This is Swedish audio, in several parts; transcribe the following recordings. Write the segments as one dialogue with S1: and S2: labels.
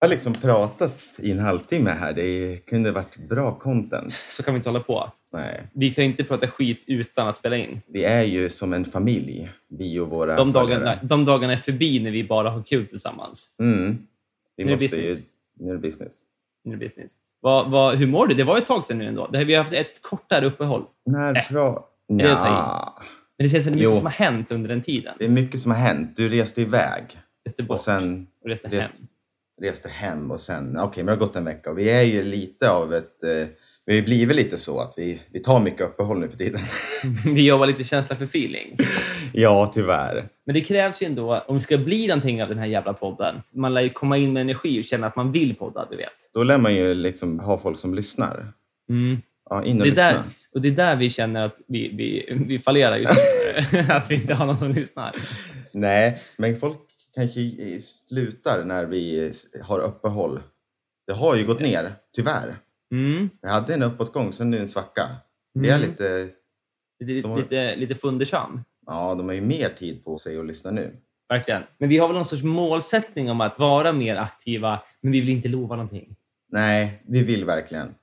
S1: har liksom pratat i en halvtimme här. Det kunde varit bra content.
S2: Så kan vi inte hålla på.
S1: Nej,
S2: Vi kan inte prata skit utan att spela in.
S1: vi är ju som en familj, vi och våra
S2: De
S1: följare.
S2: dagarna, de dagarna är förbi när vi bara har kul tillsammans.
S1: Mm. Vi
S2: Nu är det
S1: måste
S2: business.
S1: Ju, nu är det business.
S2: Nu är det business. Vad, vad, hur mår du? Det var ett tag sedan nu ändå. Det här, vi har haft ett kortare uppehåll.
S1: När
S2: Äh,
S1: pra-
S2: det att ta i?
S1: Nja,
S2: Men det känns som det är mycket
S1: Jo.
S2: som har hänt under den tiden.
S1: det är mycket som har hänt. Du reste iväg
S2: Reste bort
S1: och sen
S2: och reste hem.
S1: rest- reste hem och sen, okej, men det har gått en vecka och vi är ju lite av ett, eh, vi har ju blivit lite så att vi, vi tar mycket uppehåll nu för tiden.
S2: vi jobbar lite känsla för feeling.
S1: ja, tyvärr.
S2: Men det krävs ju ändå, om det ska bli någonting av den här jävla podden, man lär ju komma in med energi och känna att man vill podda, du vet.
S1: Då lär man ju liksom ha folk som lyssnar.
S2: Mm.
S1: Ja, in och
S2: Det är
S1: lyssna.
S2: där, och det är där vi känner att vi, vi, vi fallerar just nu. att vi inte har någon som lyssnar.
S1: Nej, men folk kanske eh, slutar när vi eh, har uppehåll. Det har ju gått ner, tyvärr.
S2: Mm.
S1: Vi hade en uppåtgång, sen nu en svacka. Vi är
S2: Mm.
S1: lite,
S2: Lite,
S1: de har-
S2: lite, lite fundersam.
S1: ja, de har ju mer tid på sig att lyssna nu.
S2: Verkligen. Men vi har väl någon sorts målsättning om att vara mer aktiva, men vi vill inte lova någonting.
S1: Nej, vi vill verkligen.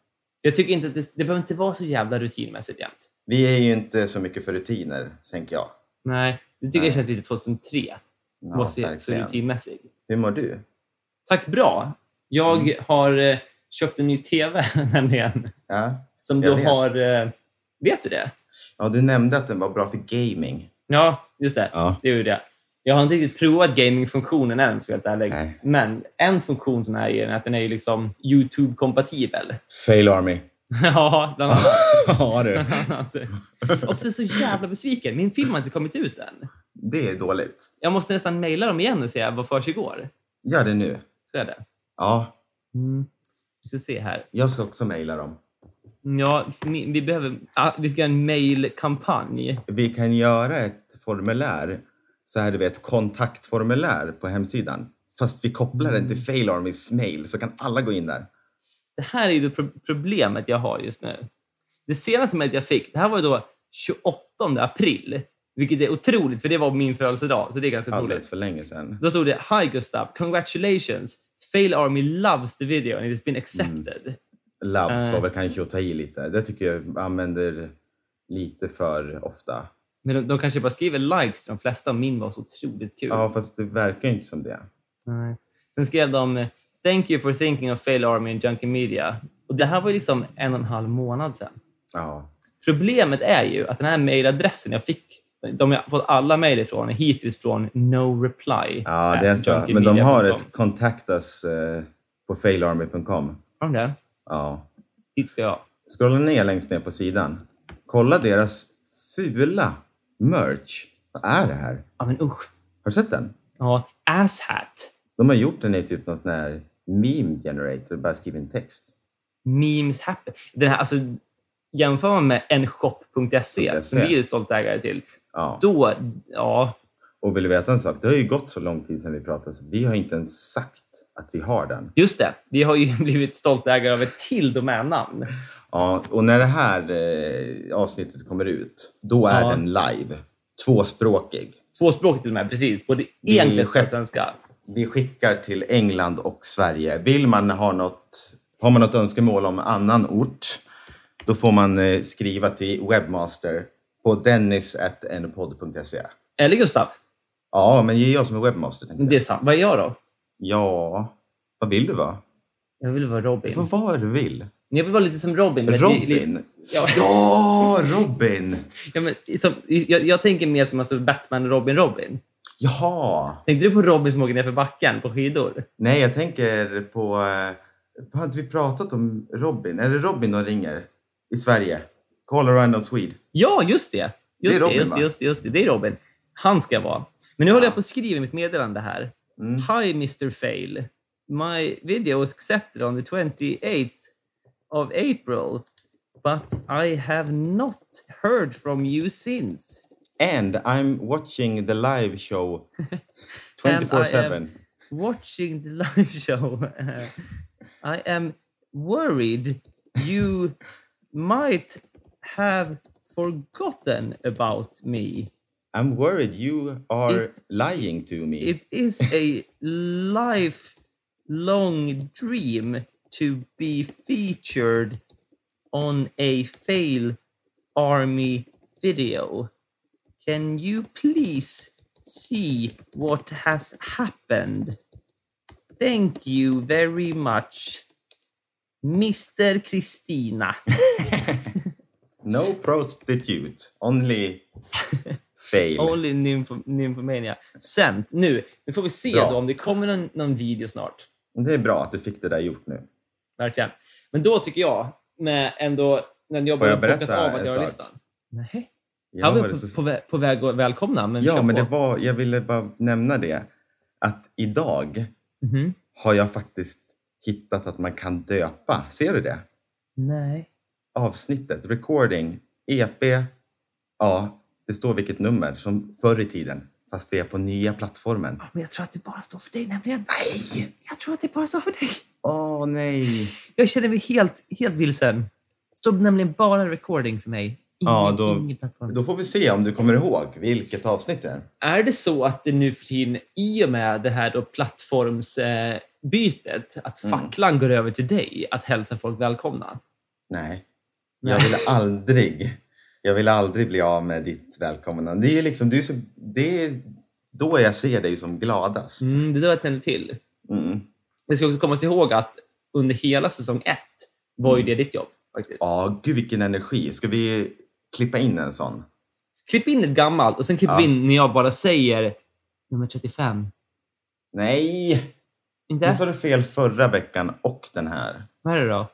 S2: Jag tycker inte att det, det behöver inte vara så jävla rutinmässigt jämt.
S1: Vi är ju inte så mycket för rutiner, tänker jag.
S2: Nej, det tycker
S1: Nej.
S2: jag känns lite 2003.
S1: Ja,
S2: Ja, så, så
S1: verkligen.
S2: rutinmässig.
S1: Hur mår du?
S2: Tack bra. Jag
S1: Mm.
S2: har eh, köpt en ny TV nämligen.
S1: Ja?
S2: Som
S1: Jag
S2: då
S1: vet.
S2: har... eh, Vet du det?
S1: ja, du nämnde att den var bra för gaming.
S2: Ja, just det.
S1: Ja.
S2: Det är ju det. Jag har inte riktigt provat gamingfunktionen än, ska jag vara helt ärlig.
S1: Nej.
S2: Men en funktion som är i den är att den är ju liksom YouTube-kompatibel.
S1: Fail Army.
S2: ja, bland annat.
S1: ja, du.
S2: Bland annat. Också så jävla besviken. Min film har inte kommit ut än.
S1: Det är dåligt.
S2: Jag måste nästan mejla dem igen och se vad försiggår.
S1: Gör det nu.
S2: Så är det.
S1: Ja,
S2: Mm. Vi ska se här.
S1: jag ska också mejla dem.
S2: Ja, vi vi behöver... ah, Vi ska göra en mejlkampanj.
S1: Vi kan göra ett formulär, så här du vet, kontaktformulär på hemsidan. Fast vi kopplar den
S2: Mm.
S1: till Fail Armys mail så kan alla gå in där.
S2: Det här är ju det pro- problemet jag har just nu. Det senaste mejlet jag fick, det här var ju då 28 april. Vilket är otroligt, för det var min födelsedag. Så det är ganska
S1: Alldeles
S2: otroligt.
S1: för länge sedan.
S2: Då stod det “Hi Gustav, congratulations! Fail Army loves the video and it's been accepted”.
S1: Loves
S2: Nej.
S1: var väl kanske att ta i lite. Det tycker jag använder lite för ofta.
S2: Men de, de kanske bara skriver likes till de flesta och min var så otroligt kul.
S1: Ja, fast det verkar ju inte som det.
S2: Nej. Sen skrev de eh, “Thank you for thinking of Fail Army and Junkie Media”. Och det här var ju liksom en och en halv månad sedan.
S1: Ja,
S2: Problemet är ju att den här mejladressen jag fick, de har fått alla mejl ifrån, hittills från No Reply. Äh,
S1: ja
S2: at
S1: det är så. Men de
S2: junkiemediapunkt com.
S1: har ett kontaktas eh, på failarmy.com.
S2: Har de det?
S1: Ja.
S2: Dit ska jag.
S1: Scrolla ner längst ner på sidan. Kolla deras fula merch. Vad är det här?
S2: Ja, men usch.
S1: Har du sett den?
S2: Ja, asshat.
S1: De har gjort den i typ någon sån här meme generator, bara skrivit en text.
S2: Memes happen. Den här, alltså, jämför man med enshop.se, E,
S1: E.
S2: som vi är stolta ägare till,
S1: Ja.
S2: då... Ja,
S1: Och vill du veta en sak? Det har ju gått så lång tid sedan vi pratade så vi har inte ens sagt att vi har den.
S2: just det. Vi har ju blivit stolta ägare av ett till domännamn.
S1: Ja, och när det här eh, avsnittet kommer ut, då är
S2: Ja.
S1: den live. Tvåspråkig.
S2: Tvåspråkigt till och med, precis. Både
S1: Vi är
S2: engelska och
S1: själv-
S2: svenska.
S1: Vi skickar till England och Sverige. Vill man ha något, har man något önskemål om annan ort, då får man eh, skriva till webmaster på dennis.npodd.se.
S2: Eller Gustav,
S1: Ja, men ge jag som är webmaster. Tänkte jag.
S2: det är sant. Vad är jag då?
S1: Ja, vad vill du vara?
S2: Jag vill vara
S1: Du får
S2: Robin.
S1: vara vad du vill.
S2: Jag vill vara lite som Robin. men-
S1: Robin?
S2: Ja,
S1: Ja, Robin!
S2: ja, men, som, jag, jag tänker mer som alltså Batman, Robin, Robin.
S1: Jaha!
S2: Tänkte du på Robin som åker ner för backen på skidor?
S1: Nej, jag tänker på... eh, Har inte vi pratat om Robin? Är det Robin de ringer? I Sverige? Call a random Swede.
S2: Ja, just det. Just
S1: Det är Robin,
S2: just,
S1: va?
S2: det, just, det, just det. Det är Robin. Han ska jag vara. Men nu håller
S1: Ja.
S2: jag på att skriva mitt meddelande här.
S1: Mm.
S2: Hi Mr Fail. My video was accepted on the 28th of April. But I have not heard from you since.
S1: And I'm watching the live show
S2: And I
S1: 24-7.
S2: am- watching the live show, I am worried you might have forgotten about me.
S1: I'm worried you are lying to me.
S2: It is a life long dream to be featured on a fail army video. Can you please see what has happened? Thank you very much, Mr. Christina.
S1: No prostitute, only fail.
S2: Only nympho- Nymphomania. Sänt nu. Nu får vi se
S1: Bra.
S2: då om det kommer någon, någon video snart.
S1: Det är bra att du fick det där gjort nu.
S2: Verkligen. Men då tycker jag, med ändå, när jag
S1: Får
S2: bara
S1: jag
S2: bockat
S1: berätta
S2: av att
S1: en
S2: göra
S1: sak?
S2: listan. Nej.
S1: Jag
S2: Jag var
S1: var
S2: på,
S1: så-
S2: på, vä- på väg att välkomna, men
S1: ja
S2: kör
S1: men
S2: på.
S1: det var, jag ville bara nämna det. Att idag
S2: Mhm.
S1: har jag faktiskt hittat att man kan döpa. Ser du det?
S2: Nej.
S1: Avsnittet, recording, EP. Ja, det står vilket nummer som förr i tiden. Fast vi är på nya plattformen.
S2: Ja, Men jag tror att det bara står för dig nämligen.
S1: Nej!
S2: Jag tror att det bara står för dig.
S1: Åh nej!
S2: Jag känner mig helt, helt vilsen. Det står nämligen bara recording för mig. Ingen,
S1: Ja, då-
S2: ingen plattform.
S1: Då får vi se om du kommer ihåg vilket avsnitt det är.
S2: Är det så att det nu för tiden, i och med det här då plattformsbytet, eh, bytet, att
S1: Mm.
S2: facklan går över till dig att hälsa folk välkomna?
S1: Nej. Jag ville aldrig, jag ville aldrig bli av med ditt välkomnande. Det är liksom, det är så, det är då jag ser dig som gladast.
S2: Mm, det där var jag tände till.
S1: Mm.
S2: Vi ska också komma ihåg att under hela säsong ett var ju
S1: Mm.
S2: det ditt jobb. faktiskt.
S1: Ja, gud vilken energi. Ska vi klippa in en sån?
S2: Klipp in ett gammalt och sen klipper
S1: Ja.
S2: vi in när jag bara säger nummer 35.
S1: Nej!
S2: Inte?
S1: Nu sa du fel förra veckan och den här.
S2: Vad är det då?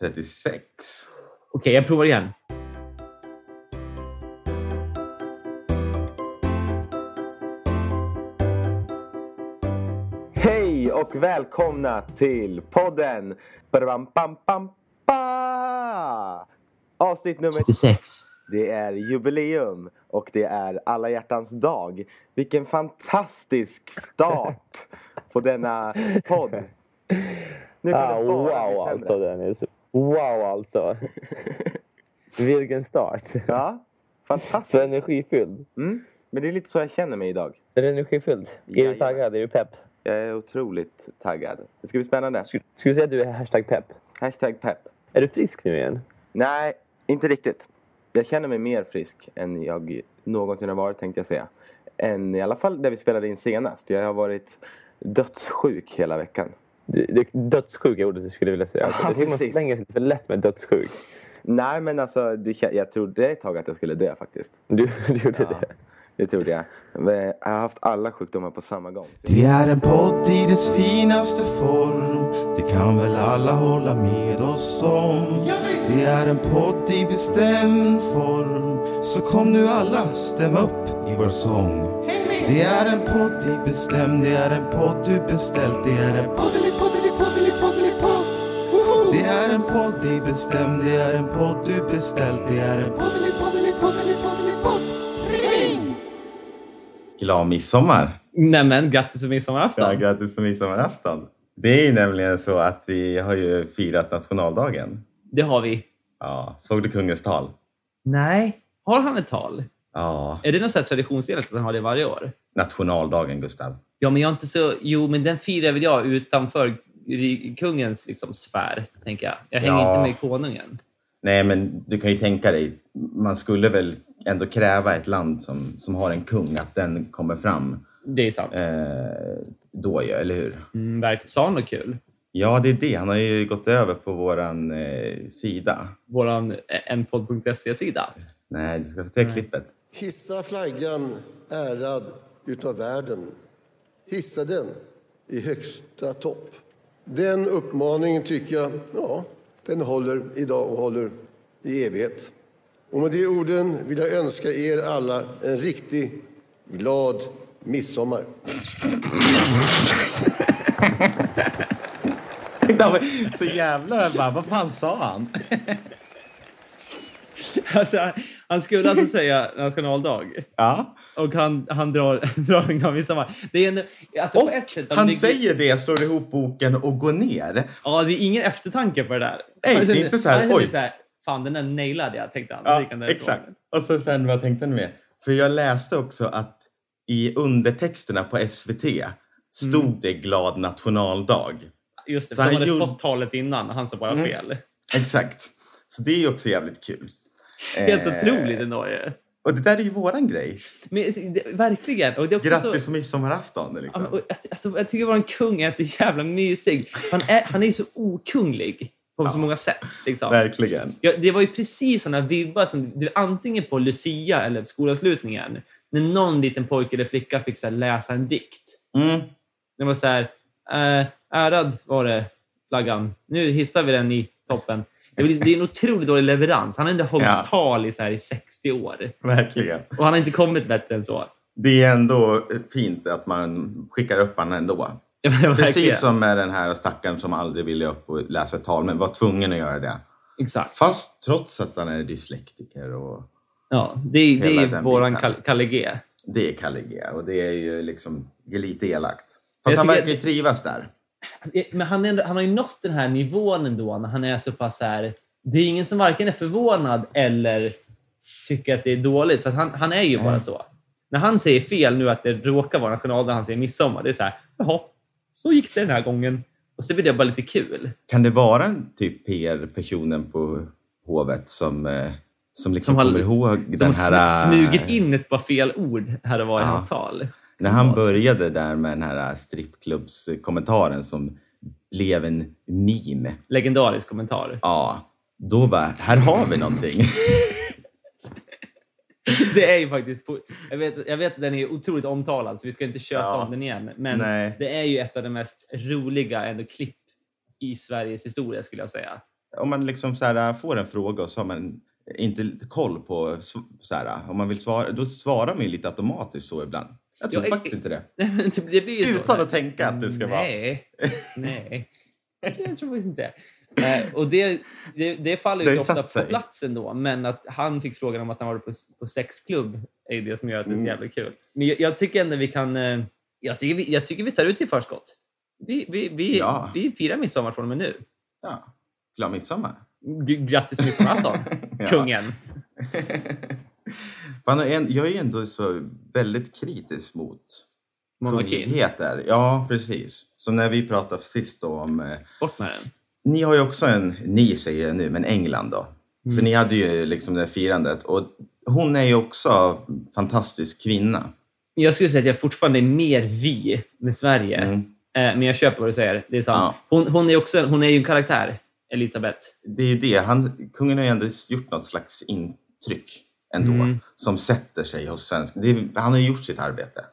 S1: 36.
S2: Okej, jag provar igen.
S3: Hej och välkomna till podden Bam, bam, bam, ba! Avsnitt nummer...
S2: 36.
S3: Det är jubileum och det är alla hjärtans dag. Vilken fantastisk start på denna podd. Nu kan
S4: Ah,
S3: det bara bli
S4: wow
S3: sämre.
S4: alltså Dennis. Wow alltså. Vilken start.
S3: Ja, fantastiskt.
S4: Så energifylld.
S3: Mm. Men det är lite så jag känner mig idag.
S4: Är du energifylld? Är du
S3: Jajamän.
S4: taggad? Är du pepp?
S3: Jag är otroligt taggad. Det ska bli spännande.
S4: Sk- Skulle du säga att du är hashtag pepp?
S3: Hashtag pepp.
S4: Är du frisk nu igen?
S3: Nej, inte riktigt. Jag känner mig mer frisk än jag någonsin har varit tänkte jag säga. Än i alla fall där vi spelade in senast. Jag har varit dödssjuk hela veckan.
S4: Du, du, dödssjuk är ordet jag skulle vilja säga.
S3: Ja,
S4: jag tycker man
S3: precis.
S4: slänger sig för lätt med dödssjuk.
S3: Nej men alltså, det, kä- jag trodde ett tag att jag skulle dö faktiskt.
S4: Du, du gjorde
S3: Ja,
S4: det.
S3: det trodde jag. Men jag har haft alla sjukdomar på samma gång.
S5: Det är en podd i dess finaste form Det kan väl alla hålla med oss om Det är en podd i bestämd form Så kom nu alla, stäm upp i vår sång Det är en podd i bestämd Det är en podd du beställt Det är en poddeli, poddeli, poddeli, poddeli, podd Det är en podd i bestämd Det är en podd du beställt Det är en poddeli, poddeli, poddeli, poddeli, podd Ring!
S1: Glad midsommar!
S2: Nämen, grattis på midsommarafton.
S1: Ja, grattis på midsommarafton! Det är ju nämligen så att vi har ju firat nationaldagen.
S2: Det har vi.
S1: Ja, såg du kungens tal?
S2: Nej. Har han ett tal?
S1: Ja,
S2: Är det något så här traditionsenligt att han har det varje år?
S1: nationaldagen Gustav.
S2: Ja, men jag är inte så... Jo, men den firar väl jag utanför ri- kungens liksom, sfär, tänker jag. Jag hänger
S1: Ja.
S2: inte med konungen.
S1: Nej, men du kan ju tänka dig, man skulle väl ändå kräva ett land som, som har en kung att den kommer fram
S2: Det är sant.
S1: eh, då, ju, eller hur?
S2: Mm, verkligen. Sa han något kul?
S1: Ja, det är det. Han har ju gått över på våran eh, sida.
S2: Våran
S1: eh,
S2: npodd.se-sida.
S1: Nej, du ska få se klippet.
S6: Hissa flaggan ärad utav världen. Hissa den i högsta topp. Den uppmaningen tycker jag, ja, den håller idag och håller i evighet. Och med de orden vill jag önska er alla en riktig glad midsommar.
S1: Så jävla bara, vad fan sa han?
S2: Alltså, han skulle alltså säga nationaldag.
S1: Ja,
S2: Och han, han drar, drar en gammal sommar. Det är en, alltså, på ett sätt,
S1: och
S2: han
S1: han
S2: ligger-
S1: säger det, slår ihop boken och går ner.
S2: Ja, det är ingen eftertanke på det där.
S1: Nej,
S2: Han
S1: det är
S2: kände-
S1: inte så här,
S2: han kände
S1: oj.
S2: så här, Fan, den där nailade jag, tänkte han. Så
S1: Ja,
S2: gick han därifrån.
S1: exakt. Och så sen, vad tänkte ni med? För jag läste också att
S2: Mm.
S1: i undertexterna på SVT stod det glad nationaldag.
S2: just det.
S1: Så
S2: för de
S1: han
S2: hade
S1: gjorde-
S2: fått talet innan och han sa bara
S1: Mm.
S2: fel.
S1: Exakt. Så det är ju också jävligt kul.
S2: Helt
S1: Eh,
S2: otroligt ändå ju.
S1: Och det där är ju våran grej.
S2: Men, så- det, verkligen. Och det är också Alltså så...
S1: Grattis på midsommarafton.
S2: Ja,
S1: Liksom.
S2: men, och, alltså, jag tycker våran kung är så jävla mysig. Han är, han är ju så okunglig på så många sätt. Liksom.
S1: Verkligen.
S2: Ja, det var ju precis såna vibbar som du, antingen på Lucia eller på skolavslutningen när någon liten pojke eller flicka fick så här, läsa en dikt.
S1: Mm.
S2: Det var så här, eh, ärad var det flaggan. Nu hissar vi den i toppen. Det är, det är en otroligt dålig leverans. Han har ändå hållit
S1: Ja.
S2: tal i, så här, i 60 år
S1: Verkligen.
S2: och han har inte kommit bättre än så.
S1: Det är ändå fint att man skickar upp honom ändå.
S2: Ja, men verkligen.
S1: Precis som med den här stackaren som aldrig ville upp och läsa ett tal, men var tvungen att göra det.
S2: Exakt.
S1: Fast trots att han är dyslektiker och
S2: Ja, det, är- det
S1: Hela
S2: är
S1: den
S2: vår
S1: biten.
S2: Kal- Kalle G.
S1: det är Kalle G och det är ju liksom det är lite elakt.
S2: Jag
S1: Fast han
S2: tycker-
S1: verkar ju trivas där.
S2: Eh, Men han, är, ändå- han har ju nått den här nivån ändå när han är så pass här... Det är ingen som varken är förvånad eller tycker att det är dåligt, för att han, han är ju bara så. När han säger fel nu att det råkar vara en skandal när han säger midsommar, det är så här, jaha, så gick det den här gången. Och så blir det bara lite kul.
S1: Kan det vara typ PR-personen på hovet som, eh, som liksom
S2: Som har-
S1: kommer ihåg
S2: Som
S1: den
S2: har
S1: här...
S2: sm-
S1: eh,
S2: smugit in ett par fel ord här och var i
S1: Ja.
S2: hans tal.
S1: När han började där med den här strippklubbskommentaren som blev en meme.
S2: Legendarisk kommentar.
S1: Ja, då var här har vi någonting.
S2: Det är ju faktiskt... po- Jag vet, jag vet att den är otroligt omtalad, så vi ska inte köta
S1: Ja.
S2: om den igen. Men
S1: Nej.
S2: det är ju ett av de mest roliga ändå klipp i Sveriges historia, skulle jag säga.
S1: Om man liksom så här, får en fråga och så har man inte koll på s- så här, eh, om man vill svara, då svarar man ju lite automatiskt så ibland. Jag tror
S2: Ja,
S1: faktiskt
S2: i-
S1: inte det.
S2: Nej, men typ, det det blir ju så.
S1: Utan att tänka att det ska vara...
S2: Nej, nej. Jag tror faktiskt inte det. Eh, Och det, det, det faller ju
S1: Det har ju
S2: så ofta
S1: satt sig.
S2: på plats ändå, men att han fick frågan om att han var på, på sexklubb är ju det som gör att det är
S1: Mm.
S2: så jävla kul. Men jag, jag tycker ändå vi kan... eh, Jag tycker vi, jag tycker vi tar ut i förskott. Vi, vi, vi,
S1: Ja.
S2: vi firar midsommar från och med nu.
S1: Ja. Glad midsommar.
S2: G- Grattis midsommarafton,
S1: Ja.
S2: kungen!
S1: Fan, jag är- jag är ju ändå så väldigt kritisk mot
S2: Monarkin.
S1: kungligheter. Ja, precis. Som när vi pratade sist då om eh,
S2: Bort med den.
S1: Ni har ju också en, ni säger jag nu, men England då. För ni hade ju liksom det här firandet och hon är ju också en fantastisk kvinna.
S2: Jag skulle säga att jag fortfarande är mer vi med Sverige.
S1: Mm.
S2: Eh, Men jag köper vad du säger. Det är sant.
S1: Ja.
S2: Hon, hon, är också, hon är ju en karaktär, Elisabeth.
S1: Det är ju det, han, kungen har ju ändå gjort något slags intryck ändå
S2: Mm.
S1: som sätter sig hos svenskar. Det är- Han har ju gjort sitt arbete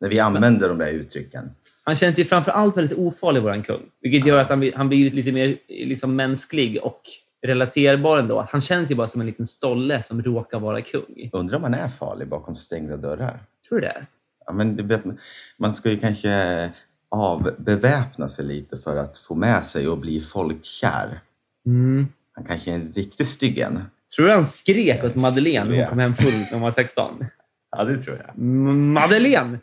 S1: när vi använder de där uttrycken.
S2: Han känns ju framför allt väldigt ofarlig, vår kung. Vilket gör att han, blir- han blir lite mer liksom, mänsklig och relaterbar ändå. Han känns ju bara som en liten stolle som råkar vara kung.
S1: Undrar om han är farlig bakom stängda dörrar?
S2: Tror du det?
S1: Ja, men du vet, man ska ju kanske avbeväpna sig lite för att få med sig och bli folkkär. Han kanske är en riktig styggen.
S2: Tror du han skrek åt Madeleine när hon
S1: Skrek.
S2: kom hem full när hon var 16?
S1: Ja, det tror jag.
S2: M- Madeleine!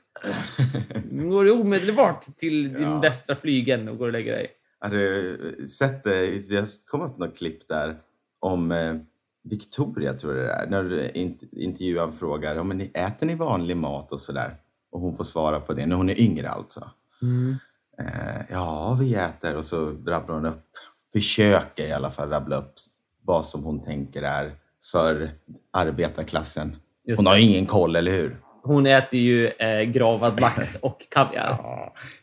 S2: Nu går du omedelbart till din
S1: Ja.
S2: västra flygen och går och lägger dig.
S1: Har du eh, sett det? Jag kom upp något klipp där om eh, Victoria, tror jag det är. När du eh, int- intervjuaren frågar, ja, men ni- äter ni vanlig mat och sådär? Och hon får svara på det, när hon är yngre alltså. Eh, ja, vi äter. Och så rabblar hon upp, försöker i alla fall rabbla upp vad som hon tänker är för arbetarklassen.
S2: Just
S1: hon har ju ingen koll, eller hur?
S2: Hon äter ju eh, gravad lax och kaviar.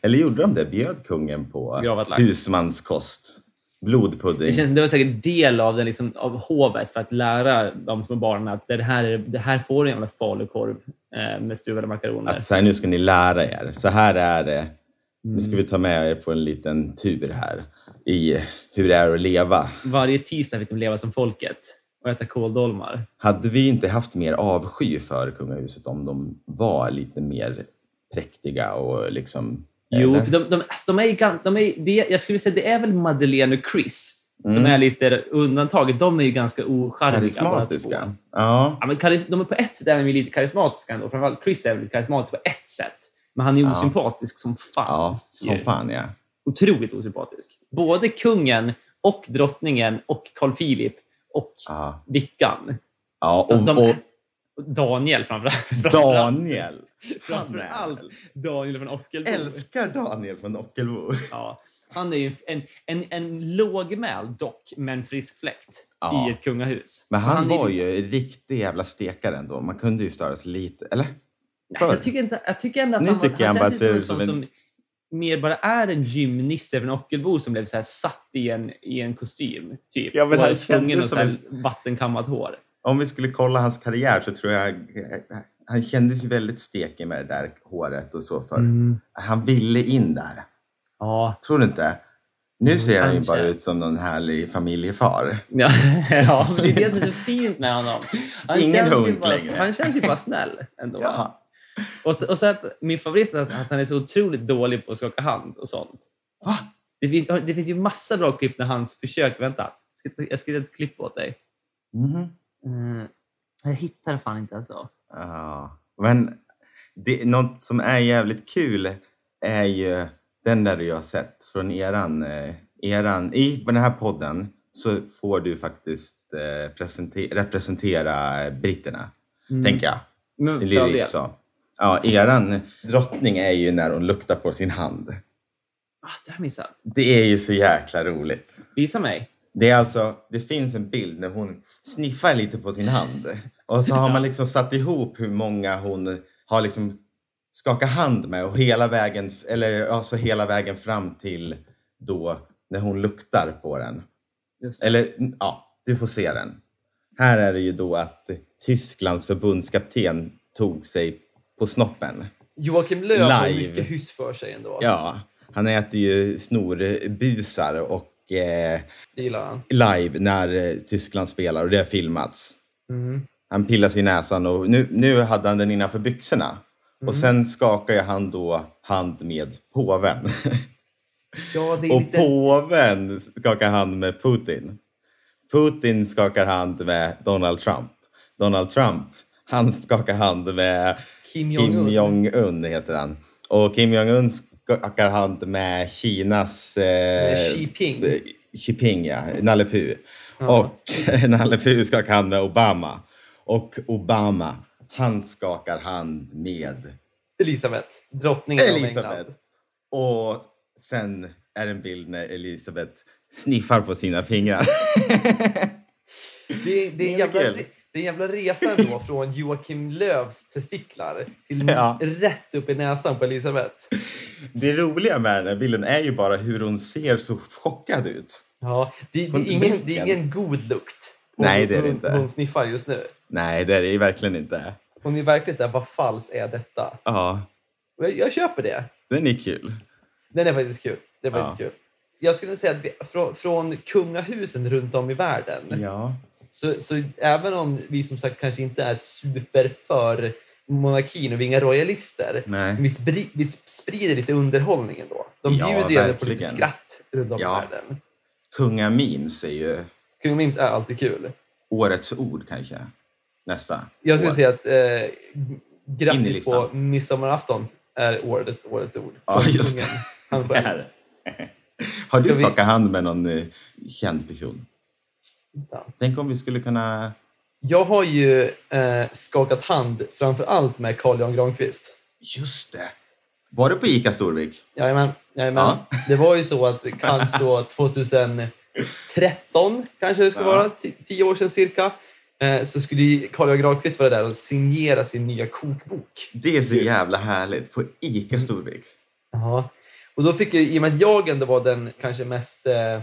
S1: Eller gjorde de det? Bjöd kungen på
S2: Gravad lax.
S1: husmanskost? Blodpudding?
S2: Det, känns, som det var säkert del av, den, liksom, av hovet för att lära de små barnen att det här, är, det här får du en jävla falukorv eh, med stuvade makaroner.
S1: att så här, nu ska ni lära er. Så här är det. Nu ska
S2: Mm.
S1: vi ta med er på en liten tur här i hur det är att leva.
S2: Varje tisdag fick de leva som folket och äta kåldolmar.
S1: Hade vi inte haft mer avsky för kungahuset om de var lite mer präktiga och liksom...
S2: Jo,
S1: eller?
S2: för de, de, alltså, de är, ju gan- de är, det, jag skulle säga det är väl Madeleine och Chris
S1: Mm.
S2: som är lite undantaget. De är ju ganska ocharmiga båda två.
S1: karismatiska. Ja.
S2: Ja, men karis- de är på ett sätt är de ju lite karismatiska ändå. Framförallt Chris är väl lite karismatisk på ett sätt. Men han är ju osympatisk som fan.
S1: ja, som fan ja.
S2: otroligt osympatisk. Både kungen och drottningen och Carl Philip och
S1: Ja,
S2: Vickan.
S1: ja
S2: De,
S1: och,
S2: de,
S1: och
S2: Daniel framförallt.
S1: Daniel.
S2: Framförallt Daniel från Ockelbo.
S1: Älskar Daniel från Ockelbo.
S2: Ja. Han är ju en, en, en, en lågmäld dock, men frisk fläkt
S1: Ja.
S2: i ett kungahus.
S1: Men han,
S2: Han är-
S1: var ju en riktig jävla stekare ändå. Man kunde ju störa sig lite, eller?
S2: Nej,
S1: Förr.
S2: Alltså, jag, tycker inte, jag tycker ändå att
S1: Nu
S2: han, var-
S1: tycker jag
S2: han
S1: han bara
S2: känns
S1: ser
S2: lite
S1: ut
S2: som,
S1: som
S2: en sån som mer bara är en gymnisse från Ockelbo som blev så här satt i en, i en kostym. Typ.
S1: Ja, men
S2: och
S1: han
S2: var tvungen
S1: kändes
S2: att
S1: som
S2: så här vattenkammat hår.
S1: Om vi skulle kolla hans karriär så tror jag... Han kändes ju väldigt stekig med det där håret och så förr.
S2: Mm.
S1: Han ville in där.
S2: Ja.
S1: Tror du inte? Nu ser han ju
S2: kanske.
S1: bara ut som någon härlig familjefar.
S2: Ja, ja, men det är det som är så fint med honom. Han,
S1: Ingen
S2: känns ju
S1: hunk
S2: bara,
S1: längre.
S2: han känns ju bara snäll ändå.
S1: Ja.
S2: Och, och så att, min favorit är att, att han är så otroligt dålig på att skaka hand och sånt.
S1: Va?
S2: Det finns, det finns ju massa bra klipp när han försöker... Vänta, jag ska, ta- jag ska ta ett klipp åt dig.
S1: Mhm.
S2: Mm. Jag hittar fan inte alltså.
S1: Ja. Men det, något som är jävligt kul är ju den där du har sett från eran... eh, eran I den här podden så får du faktiskt eh, presente- representera britterna, tänker jag.
S2: Mm. Men för all
S1: Lyrik
S2: del. Ah,
S1: så. Ja, eran drottning är ju när hon luktar på sin hand.
S2: Ah, det har jag missat.
S1: Det är ju så jäkla roligt.
S2: Visa mig.
S1: Det är alltså, det finns en bild när hon sniffar lite på sin hand. Och så har man liksom satt ihop hur många hon har liksom skakat hand med och hela vägen, eller alltså hela vägen fram till då när hon luktar på den.
S2: Just det.
S1: Eller ja, du får se den. Här är det ju då att Tysklands förbundskapten tog sig på snoppen.
S2: Joakim
S1: Löw har Live. mycket
S2: hyss för sig ändå.
S1: Ja, han äter ju snorbusar och eh,
S2: Det gillar han.
S1: live när eh, Tyskland spelar och det har filmats. Han pillar sig i näsan och nu, nu hade han den innanför byxorna. Och sen skakar ju han då hand med påven.
S2: Ja, det
S1: och påven skakar hand med Putin. Putin skakar hand med Donald Trump. Donald Trump, han skakar hand med
S2: Kim
S1: Kim Jong-Un heter han. Och Kim Jong-Un skakar hand med Kinas... Eh,
S2: Jinping.
S1: eh, Xi Jinping, ja. Nalle Puh. Och Nalle Puh skakar hand med Obama. Och Obama, han skakar hand med
S2: Elisabeth. Drottningen
S1: Elisabeth. Och sen är det en bild när Elisabeth sniffar på sina fingrar.
S2: Det, det, är en
S1: Det är
S2: jävla,
S1: kul.
S2: re- det är en jävla resa ändå från Joakim Lövs testiklar till
S1: Ja.
S2: rätt upp i näsan på Elisabeth.
S1: det roliga med den här bilden är ju bara hur hon ser så chockad ut.
S2: Ja, det, det,
S1: Hon-
S2: är ingen, det är
S1: blicken.
S2: ingen god lukt.
S1: Nej, det är det
S2: hon,
S1: inte.
S2: Hon sniffar just nu.
S1: Nej, det är det ju verkligen inte.
S2: Hon är verkligen så här, vad falskt är detta?
S1: Ja,
S2: Och jag, jag köper det.
S1: den är kul.
S2: Den är faktiskt kul. Det var
S1: Ja.
S2: faktiskt kul. Jag skulle säga att vi, från, från kungahusen runt om i världen
S1: Ja.
S2: Så, så även om vi som sagt kanske inte är super för monarkin och vi är inga royalister,
S1: Nej.
S2: vi, spri, vi sprider lite underhållning ändå. De
S1: Ja,
S2: bjuder ju ändå på lite
S1: verkligen.
S2: skratt runt om i
S1: Ja.
S2: världen.
S1: Kungamemes är ju
S2: Kung och Mims är alltid kul.
S1: årets ord kanske. Nästa.
S2: Jag skulle
S1: år.
S2: säga att eh,
S1: In i
S2: grattis
S1: listan.
S2: på midsommarafton är årets, årets ord.
S1: Ja, just
S2: Kungen.
S1: det.
S2: Han
S1: Det
S2: själv.
S1: här. Har du
S2: Ska vi-
S1: skakat hand med någon eh, känd person?
S2: Vänta.
S1: Tänk om vi skulle kunna...
S2: Jag har ju eh, skakat hand framför allt med Carl Jan Granqvist.
S1: Just det! Var det på ICA Storvik?
S2: Jajamän, jajamän.
S1: Ja.
S2: Det var ju så att kanske då 2013, kanske det skulle
S1: Ja.
S2: vara, ti- tio år sedan cirka, eh, så skulle ju Carl Johan Granqvist vara där och signera sin nya kokbok.
S1: Det är så jävla härligt. På ICA Storvik.
S2: Ja. Och då fick jag, i och med att jag ändå var den kanske mest eh,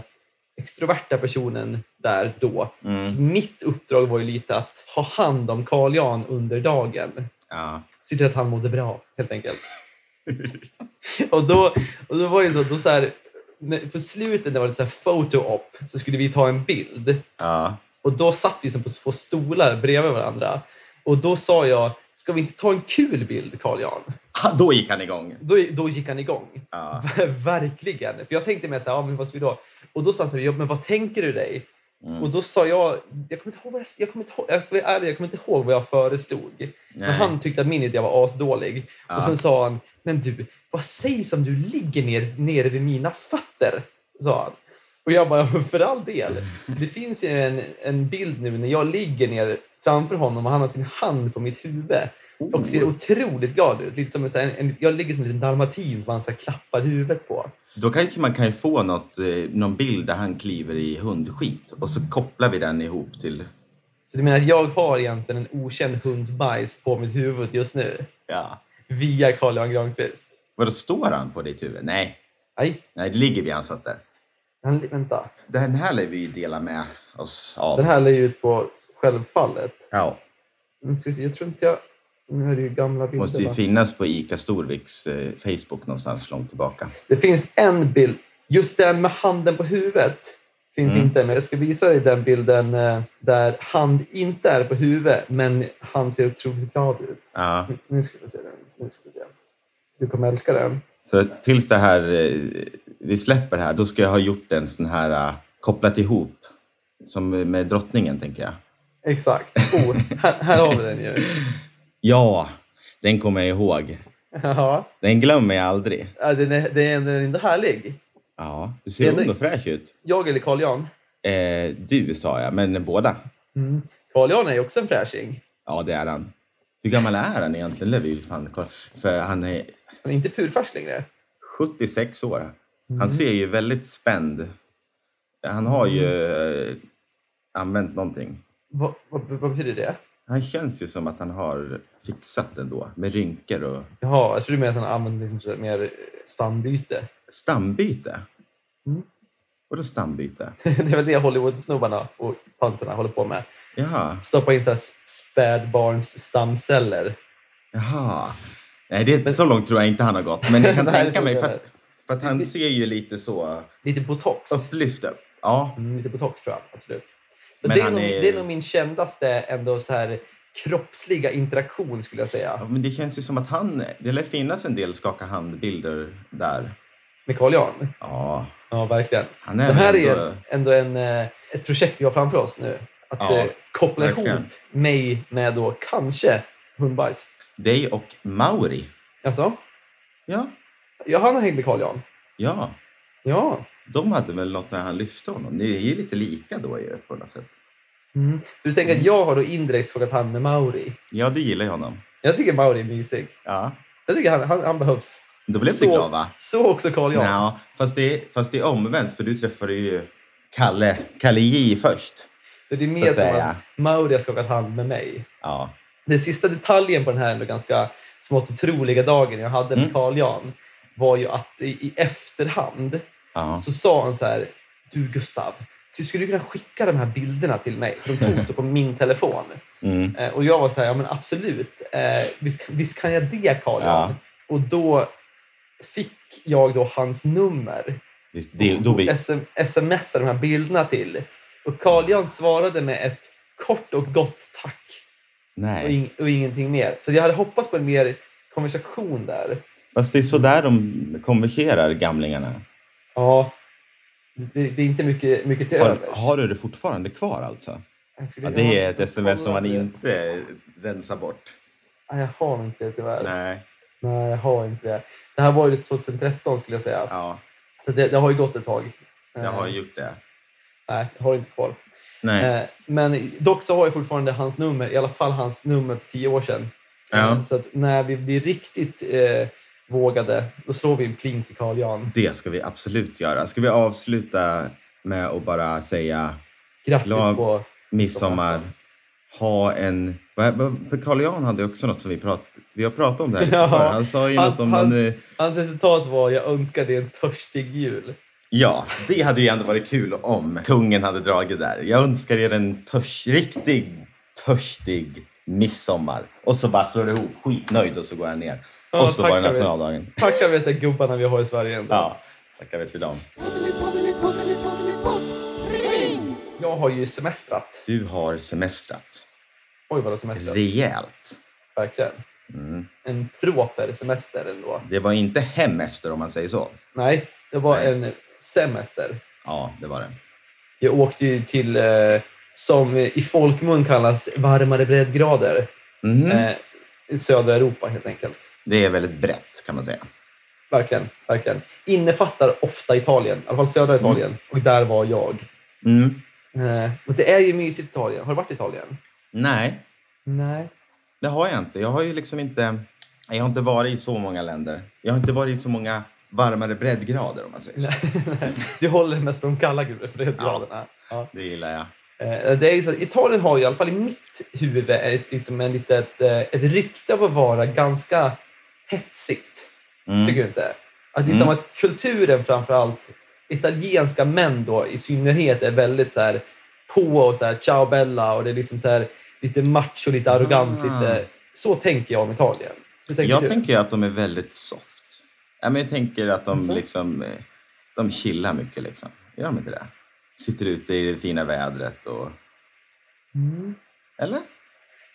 S2: extroverta personen där då, så
S1: Mm.
S2: mitt uppdrag var ju lite att ha hand om Carl Jan under dagen.
S1: Ja.
S2: se till att han mådde bra, helt enkelt. och, då, och då var det så att då så här, när- på slutet när det var lite så här photo-op så skulle vi ta en bild
S1: ja.
S2: och då satt vi som på två stolar bredvid varandra och då sa jag, ska vi inte ta en kul bild Carl Jan?
S1: Ha, då gick han igång.
S2: Då, då gick han igång.
S1: Ja.
S2: Verkligen. För jag tänkte med så här, ja, men vad ska vi då? Och då sa han så här, ja, men vad tänker du dig?
S1: Mm.
S2: Och då sa jag, jag kommer inte ihåg vad jag, jag kommer inte ihåg, jag ska vara ärlig, jag kommer inte ihåg vad jag föreslog. Men
S1: Nej.
S2: han tyckte att min idé var asdålig.
S1: Ja.
S2: Och sen sa han, men du, vad sägs om du ligger ner, nere vid mina fötter? Sa han. Och jag bara, "Ja, för all del. Det finns ju en, en bild nu när jag ligger ner framför honom och han har sin hand på mitt huvud.
S7: Och ser otroligt glad ut. Lite som en, så här- en, jag ligger som en liten dalmatin som han så här klappar huvudet på.
S1: Då kanske man kan ju få något, eh, någon bild där han kliver i hundskit och så kopplar vi den ihop till...
S7: Så du menar att jag har egentligen en okänd hunds bajs på mitt huvud just nu?
S1: Ja.
S7: Via Carl-Johan Granqvist?
S1: Vadå, står han på ditt huvud? Nej,
S7: Nej,
S1: nej, det ligger vid hans fötter.
S7: han, vänta.
S1: Den här lär vi ju dela med oss av.
S7: Den här lägger ut på självfallet.
S1: Ja.
S7: Nu ska vi se, Jag tror inte jag... Nu är det ju gamla bilder.
S1: Måste ju
S7: va?
S1: finnas på ICA Storviks eh, Facebook någonstans långt tillbaka.
S7: Det finns en bild. Just den med handen på huvudet finns
S1: Mm.
S7: inte. Men jag ska visa dig den bilden eh, där hand inte är på huvudet, men han ser otroligt glad ut.
S1: Ja.
S7: Nu- Nu ska vi se den. Nu ska vi se. Du kommer älska den.
S1: Så tills det här, eh, vi släpper det här, då ska jag ha gjort en sån här eh, kopplat ihop som med drottningen, tänker jag.
S7: Exakt. Oh, här, här har vi den ju.
S1: Ja, den kommer jag ihåg.
S7: Ja,
S1: Den glömmer jag aldrig.
S7: Ja, den är, den är, den är inte härlig.
S1: Ja, du
S7: Det
S1: ser
S7: är
S1: ung
S7: ny-
S1: och fräsch ut.
S7: Jag eller Carl-Jan?
S1: Eh, du sa jag, men båda.
S7: Mm. Carl-Jan är ju också en fräsching.
S1: Ja, det är han. Hur gammal är han egentligen? Det vill vi fan kolla. För han är
S7: Han är inte purfärs längre.
S1: 76 år. Han ser ju väldigt spänd. Han har ju eh, använt någonting.
S7: Vad, vad, vad betyder det?
S1: Han känns ju som att han har fixat ändå med rynkor och
S7: Jaha, jag tror du menar att han använder liksom så här mer eh, stambyte.
S1: stambyte.
S7: Mm.
S1: Vadå stambyte?
S7: det är väl det Hollywood-snubbarna och tanterna håller på med.
S1: Jaha.
S7: Stoppa in så här sp- spädbarns stamceller.
S1: Jaha. Nej, det, så långt tror jag inte han har gått. Men jag kan
S7: Nej, det
S1: tänka
S7: tror
S1: mig
S7: jag
S1: för att, för att han ser ju lite så
S7: Lite botox.
S1: upplyft upp. Ja,
S7: Mm, lite botox tror jag, absolut. Så
S1: Men
S7: det, är
S1: han
S7: nog,
S1: är-
S7: det är nog min kändaste ändå så här kroppsliga interaktion skulle jag säga.
S1: Ja, men det känns ju som att han... Det lär finnas en del skaka handbilder där.
S7: Med Carl-Jan.
S1: Ja,
S7: Ja, verkligen.
S1: han
S7: Det
S1: är
S7: här
S1: väl
S7: är ändå en, eh, ett projekt vi har framför oss nu. Att
S1: Ja,
S7: eh, koppla ihop
S1: verkligen.
S7: mig med då kanske hundbajs.
S1: dig och Mauri.
S7: Alltså,
S1: Ja,
S7: ja, han har hängt med Carl-Jan.
S1: ja.
S7: Ja.
S1: De hade väl något när han lyfte honom. Ni är ju lite lika då ju på något sätt.
S7: Mm. Så du tänker att jag har då indirekt frågat han med Mauri.
S1: Ja, du gillar ju honom.
S7: Jag tycker Mauri är mysig.
S1: Ja.
S7: Jag tycker han, han, han behövs.
S1: Då blev
S7: Så-
S1: du glad va?
S7: Så också Carl Jan.
S1: Nja, fast, det, fast det är omvänt för du träffade ju Kalle, Kalle J först.
S7: Så det är
S1: Så
S7: mer
S1: att
S7: som
S1: säga.
S7: att Mauri har skakat hand med mig.
S1: Ja.
S7: Den sista detaljen på den här ändå ganska smått otroliga dagen jag hade med
S1: Mm.
S7: Carl Jan var ju att i, i efterhand
S1: ja.
S7: så sa han så här. Du Gustav, du skulle kunna skicka de här bilderna till mig. För de togs då på min telefon.
S1: Mm.
S7: Eh, och jag var så här, ja men absolut. Eh, visst, visst kan jag det Carl Jan?
S1: Ja.
S7: Och då fick jag då hans nummer.
S1: Visst, det, då blir,
S7: sm- smsa de här bilderna till. Och Carl Jan svarade med ett kort och gott tack och,
S1: nej.
S7: ing- och ingenting mer. Så jag hade hoppats på en mer konversation där.
S1: Fast det är så där de konverserar, gamlingarna.
S7: Ja, det, det är inte mycket, mycket till
S1: Har,
S7: övers.
S1: har du det fortfarande kvar alltså?
S7: Jag skulle-
S1: Ja, det är
S7: jag
S1: ett
S7: har-
S1: sms som man
S7: jag har-
S1: inte rensar bort.
S7: Nej, jag har inte det tyvärr. Nej.
S1: Nej.
S7: jag har inte det. Det här var ju 2013 skulle jag säga.
S1: Ja,
S7: Så det, det har ju gått ett tag.
S1: jag har
S7: Eh,
S1: gjort det.
S7: Nej, jag har inte kvar.
S1: Nej.
S7: Eh, Men dock så har jag fortfarande hans nummer, i alla fall hans nummer för tio år sedan.
S1: Ja.
S7: Eh, Så att när vi blir riktigt eh, vågade, då slår vi en pling till Carl Jan.
S1: Det ska vi absolut göra. Ska vi avsluta med att bara säga
S7: Grattis
S1: Glad-
S7: på...
S1: midsommar. Ha en... vad- vad- För Carl Jan hade också något som vi pratade... Vi har pratat om det här lite
S7: Ja,
S1: förr. Han sa ju
S7: hans-
S1: något om
S7: hans-
S1: någon... eh,
S7: Hans resultat var “Jag önskar dig en törstig jul”.
S1: Ja, det hade ju ändå varit kul om kungen hade dragit där. Jag önskar er en törs, riktig törstig midsommar. Och så bara slår det ihop, skitnöjd och så går han ner.
S7: Ja,
S1: och så var det
S7: tackar vi.
S1: nationaldagen.
S7: Tackar vi till gubbarna vi har i Sverige ändå.
S1: Ja, tackar vet vi dem.
S7: Jag har ju semestrat.
S1: Du har semestrat
S7: Oj, vad semestrat.
S1: rejält.
S7: Verkligen.
S1: Mm.
S7: En proper semester ändå.
S1: Det var inte hemester om man säger så.
S7: Nej, det var
S1: Nej.
S7: en semester.
S1: Ja, det var det.
S7: Jag åkte ju till, eh, som i folkmun kallas, varmare breddgrader.
S1: Mhm.
S7: Eh, i södra Europa helt enkelt.
S1: Det är väldigt brett kan man säga.
S7: Verkligen, verkligen. Innefattar ofta Italien, i alla fall södra Italien. Och där var jag.
S1: Mm.
S7: Eh, och det är ju mysigt i Italien. Har du varit i Italien?
S1: Nej,
S7: Nej.
S1: Det har jag inte. Jag har ju liksom inte... Jag har inte varit i så många länder. Jag har inte varit i så många varmare breddgrader om man säger så.
S7: Du håller mest på de kalla breddgraderna. Ja.
S1: Det gillar jag.
S7: Eh, Det är ju så att Italien har ju i alla fall i mitt huvud ett, liksom en litet, eh, ett rykte av att vara ganska hetsigt.
S1: Mm.
S7: Tycker du inte? Att, liksom
S1: Mm.
S7: att kulturen framför allt, italienska män då i synnerhet, är väldigt så här på och så här ciao bella och det är liksom så här lite macho, lite arrogant.
S1: Ah.
S7: Lite, så tänker jag om Italien. Hur tänker
S1: jag
S7: du?
S1: tänker ju att de är väldigt soft. Ja, men jag tänker att de
S7: Alltså?
S1: liksom, eh, de chillar mycket. Liksom. Gör de inte det? Sitter ute i det fina vädret och...
S7: Mm.
S1: Eller?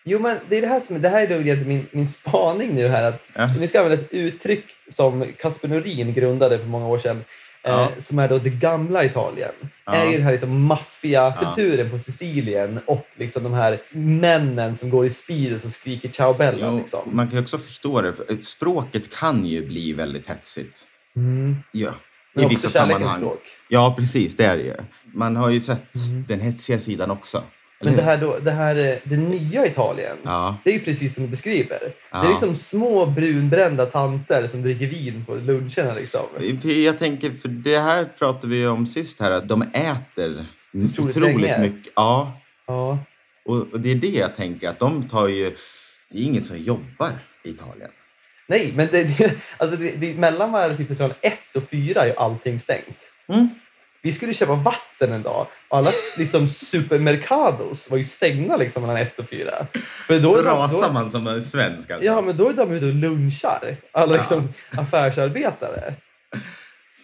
S7: Jo, men det är det här som det här är då egentligen min, min spaning nu här. Att
S1: Ja.
S7: Nu ska jag använda ett uttryck som Kasper Norin grundade för många år sedan.
S1: Ja.
S7: Eh, som är då det gamla Italien.
S1: Ja.
S7: Det är ju den här liksom maffiakulturen på Sicilien och liksom de här männen som går i speedos och skriker ciao bella.
S1: Jo,
S7: liksom.
S1: man kan ju också förstå det. för eh, Språket kan ju bli väldigt hetsigt.
S7: mm.
S1: Ja.
S7: Men
S1: I
S7: också
S1: vissa
S7: kärlekens
S1: sammanhang.
S7: språk.
S1: Ja, precis. Det är det ju. Man har ju sett
S7: Mm.
S1: den hetsiga sidan också. eller
S7: Men det
S1: hur?
S7: här, då, det här eh, det nya Italien.
S1: Ja.
S7: Det är ju precis som du beskriver.
S1: ja.
S7: Det är liksom små brunbrända tanter som dricker vin på luncherna. Liksom.
S1: För Jag tänker, för det här pratade vi ju om sist här, att de äter
S7: Så otroligt
S1: otroligt,
S7: länge.
S1: mycket. Ja,
S7: Ja.
S1: och, och det är det jag tänker, att de tar ju... Det är ingen som jobbar i Italien.
S7: Nej, men det, det, alltså det, det, mellan varje typ av 1 och 4 är ju allting stängt.
S1: Mm.
S7: Vi skulle köpa vatten en dag och alla liksom, supermercados var ju stängda liksom, mellan 1 och 4. För då är de-
S1: Rasar
S7: då-
S1: man som en svensk alltså.
S7: Ja, men då är de ute och lunchar. Alla
S1: Ja.
S7: liksom, affärsarbetare.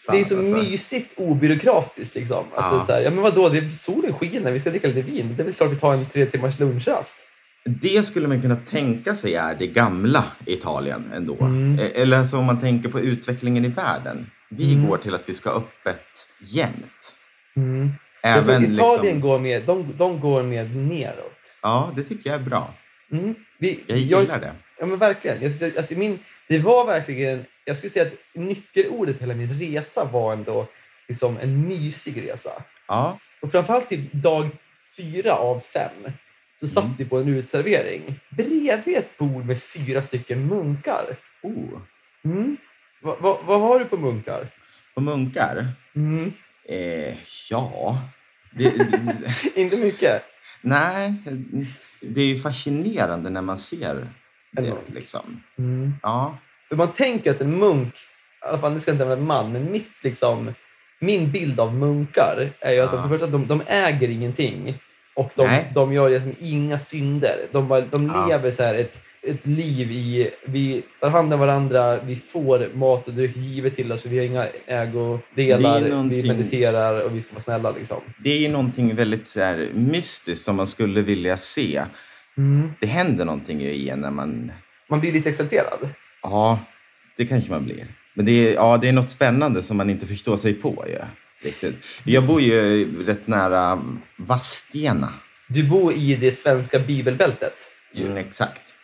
S1: Fan,
S7: det är så
S1: alltså.
S7: mysigt obyråkratiskt. Liksom. Att
S1: Ja.
S7: det är så här, ja, men vadå, det är solen skiner, vi ska dricka lite vin. Det är väl klart vi tar en tre timmars lunchrast.
S1: Det skulle man kunna tänka sig är det gamla Italien ändå.
S7: Mm.
S1: Eh, Eller alltså om man tänker på utvecklingen i världen. Vi
S7: Mm.
S1: går till att vi ska ha öppet jämt.
S7: Mm. Jag tror
S1: Även
S7: Italien
S1: liksom,
S7: går mer, de, de går mer neråt.
S1: Ja, det tycker jag är bra.
S7: Mm. Vi,
S1: Jag gillar det.
S7: Ja, men verkligen. Jag, jag, alltså min, det var verkligen... Jag skulle säga att nyckelordet på hela min resa var ändå liksom en mysig resa.
S1: Ja,
S7: Och framförallt typ dag fyra av fem så satt
S1: Mm.
S7: vi på en utservering bredvid ett bord med fyra stycken munkar.
S1: oh.
S7: Mm. Va, va, vad har du på munkar?
S1: Och munkar?
S7: Mm.
S1: Eh, ja. Det, det,
S7: Inte mycket.
S1: nej, det är ju fascinerande när man ser det.
S7: munk.
S1: Liksom.
S7: Mm.
S1: Ja.
S7: För man tänker att en munk, i alla fall nu ska jag inte använda man, men mitt liksom, min bild av munkar är ju att de,
S1: Ja.
S7: för det första, de, de äger ingenting och de,
S1: Nej.
S7: de gör liksom inga synder. De, bara, de
S1: Ja.
S7: lever så här ett, ett liv i, vi tar hand om varandra, vi får mat och dryck givet till oss, vi har inga ägodelar,
S1: Det är
S7: vi
S1: någonting-
S7: mediterar och vi ska vara snälla. Liksom.
S1: Det är ju någonting väldigt så här, mystiskt som man skulle vilja se. Det händer någonting ju i en när man...
S7: Man blir lite exalterad.
S1: Ja, det kanske man blir. Men det är, ja, det är något spännande som man inte förstår sig på. Ju, riktigt. Jag bor ju rätt nära Vadstena.
S7: Du bor i det svenska bibelbältet. ju.
S1: Mm, exakt.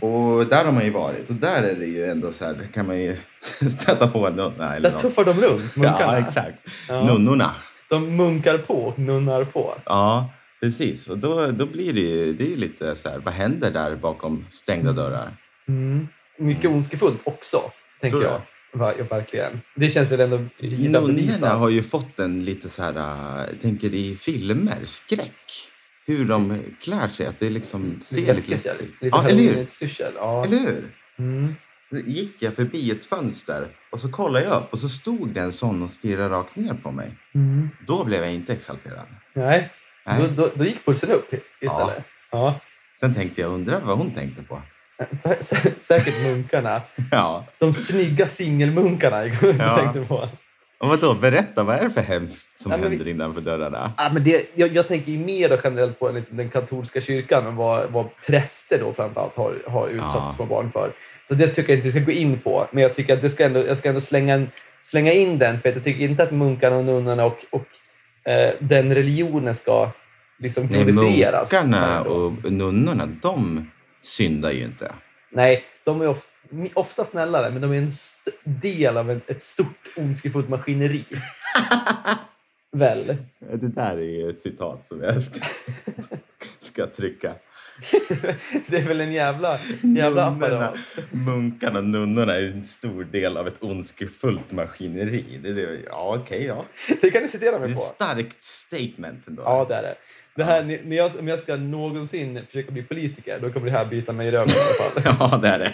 S1: Och där har man ju varit och där är det ju ändå så här, där kan man ju stöta på en nunna eller
S7: Där
S1: något.
S7: tuffar de runt, munkarna.
S1: Ja, exakt.
S7: Ja.
S1: Nunnorna.
S7: De munkar på och nunnar på.
S1: Ja, precis. Och då, då blir det ju, det är ju lite så här, vad händer där bakom stängda dörrar?
S7: Mm. Mycket ondskefullt också, tänker
S1: Tror du
S7: jag. Va- ja, verkligen. Det känns väl ändå vida
S1: Nunnorna
S7: bevisat.
S1: har ju fått en lite så här, äh, jag tänker i filmer, skräck. Hur de klär sig, att det liksom ser lite
S7: läskigt. ja.
S1: läskigt ut.
S7: Mm. Lite
S1: Ja, eller hur?
S7: heroinutstyrsel. Ja.
S1: Eller hur?
S7: Mm.
S1: Då gick jag förbi ett fönster och så kollade jag upp och så stod det en sån och stirrade rakt ner på mig.
S7: Mm.
S1: Då blev jag inte exalterad.
S7: Nej,
S1: Nej.
S7: Då, då, då gick pulsen upp istället. Ja.
S1: Sen tänkte jag, undrar vad hon tänkte på.
S7: Sä- sä- Säkert munkarna.
S1: Ja.
S7: De snygga singelmunkarna jag går runt och
S1: Ja.
S7: tänkte på.
S1: Och vadå, berätta, vad är det för hemskt som
S7: Ja, men vi-
S1: händer innanför dörrarna?
S7: Ja, men det, jag, jag tänker ju mer då generellt på liksom den katolska kyrkan och vad, vad präster då framförallt har, har utsatt
S1: Ja.
S7: små barn för. Så det tycker jag inte vi ska gå in på, men jag tycker att det ska ändå, jag ska ändå slänga, en, slänga in den för att jag tycker inte att munkarna och nunnorna och, och eh, den religionen ska liksom
S1: Nej,
S7: glorifieras.
S1: munkarna och nunnorna, de syndar ju inte.
S7: Nej, de är ofta, ofta snällare, men de är en st- del av en, ett stort ondskefullt maskineri. Väl?
S1: Eh, Det där är ju ett citat som jag ska trycka.
S7: det är väl en jävla, jävla apparat.
S1: munkarna och nunnorna är en stor del av ett ondskefullt maskineri. Det, det, ja, okej, ja.
S7: Det kan ni citera
S1: Det är
S7: mig
S1: ett
S7: på.
S1: starkt statement ändå.
S7: Ja, det är det. Det här, ni- när jag, om jag ska någonsin försöka bli politiker, då kommer det här bita mig i röven i alla fall.
S1: Ja, det är det.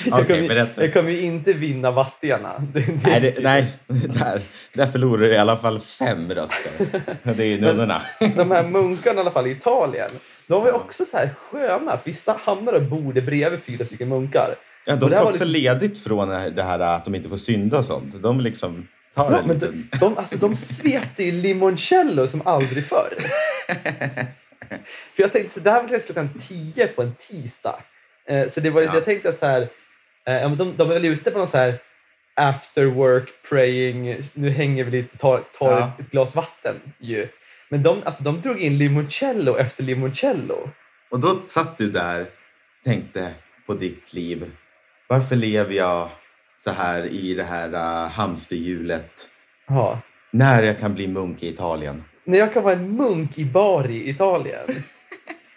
S1: Okej,
S7: jag, kommer, ju-
S1: berätta.
S7: jag kommer ju inte vinna Vadstena. Det, det,
S1: Nej, det, nej där, där förlorar du i alla fall fem röster. Det är nunnorna.
S7: De här munkarna i alla fall i Italien, de var ju också så här sköna. Vissa hamnar och borde bredvid fyra stycken munkar.
S1: Ja,
S7: Och
S1: de
S7: det här
S1: tar
S7: var
S1: också
S7: liksom-
S1: ledigt från det här att de inte får synda och sånt. De liksom tar
S7: Ja,
S1: en
S7: men
S1: liten...
S7: de, de, alltså, de svepte ju limoncello som aldrig förr. För jag tänkte så det här var kanske klockan 10 på en tisdag. Eh, så det var, ju-
S1: Ja.
S7: jag tänkte att så här, eh, ja, men de, de är väl ute på någon så här after work praying, nu hänger vi lite, tar, tar
S1: Ja.
S7: ett, ett glas vatten ju. Men de, alltså, de drog in limoncello efter limoncello.
S1: Och då satt du där, tänkte på ditt liv. Varför lever jag så här i det här uh, hamsterhjulet?
S7: Ja.
S1: När jag kan bli munk i Italien?
S7: när jag kan vara en munk i Bari i Italien.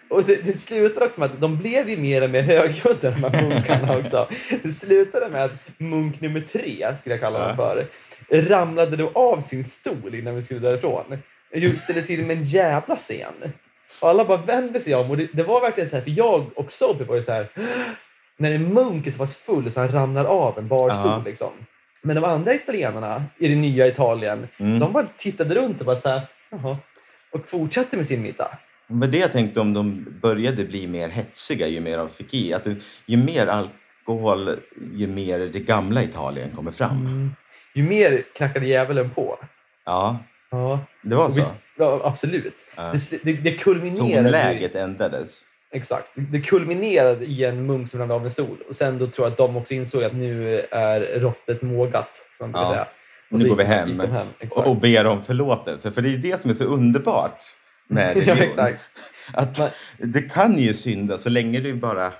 S7: Och det, det slutade också med att de blev ju mer och mer högljudda de här munkarna också. Det slutade med att munk nummer tre, skulle jag kalla honom för, ramlade då av sin stol innan vi skulle därifrån. Just ställde till med en jävla scen. Och alla bara vände sig om och det, det var verkligen så här, för jag och Sophie var ju så här, när en munk är så pass full så han ramlar av en barstol
S1: Ja.
S7: liksom. Men de andra italienarna i det nya Italien,
S1: Mm.
S7: de bara tittade runt och bara så här, Jaha. Och fortsatte med sin middag.
S1: Men det jag tänkte om de började bli mer hetsiga ju mer de fick i. Att det, ju mer alkohol, ju mer det gamla Italien kommer fram.
S7: Mm. Ju mer knackade djävulen på. Ja. Ja,
S1: Det var
S7: och
S1: så.
S7: visst- ja absolut.
S1: Ja.
S7: Det, sl- det, det kulminerade ju,
S1: Tonläget ändrades.
S7: Exakt. Det- Det kulminerade i en munk som ramlade av en stol. Och sen då tror jag att de också insåg att nu är råttet mågat. Som man brukar
S1: Ja.
S7: säga.
S1: Nu
S7: så
S1: går vi
S7: gick-
S1: hem.
S7: gick de hem. Exakt.
S1: och, och ber om förlåtelse. För det är det som är så underbart med religion.
S7: ja, exakt.
S1: Att
S7: Man-
S1: du kan ju synda så länge du bara...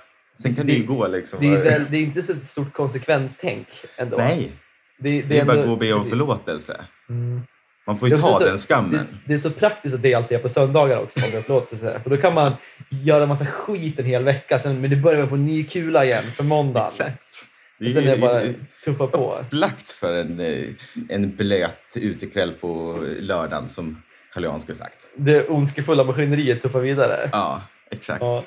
S1: Sen kan
S7: Det-
S1: du ju gå liksom.
S7: Det är, väl, det är inte så stort konsekvenstänk ändå.
S1: Nej,
S7: det, det
S1: det är bara
S7: ändå-
S1: att gå och be om
S7: precis.
S1: förlåtelse.
S7: Mm.
S1: Man får ju
S7: Ja,
S1: ta
S7: så-
S1: den skammen.
S7: Det, det är så praktiskt att det alltid är på söndagar också, om det är förlåtelse. För då kan man göra massa skit en hel vecka, sen, men det börjar på en ny kula igen för måndagen.
S1: Exakt. Det
S7: Och sen är det bara
S1: är
S7: tuffa på.
S1: upplagt för en, eh, en blöt utekväll på lördagen som Carl Johan skulle sagt.
S7: Det ondskefulla maskineriet tuffar vidare.
S1: Ja, exakt.
S7: Ja.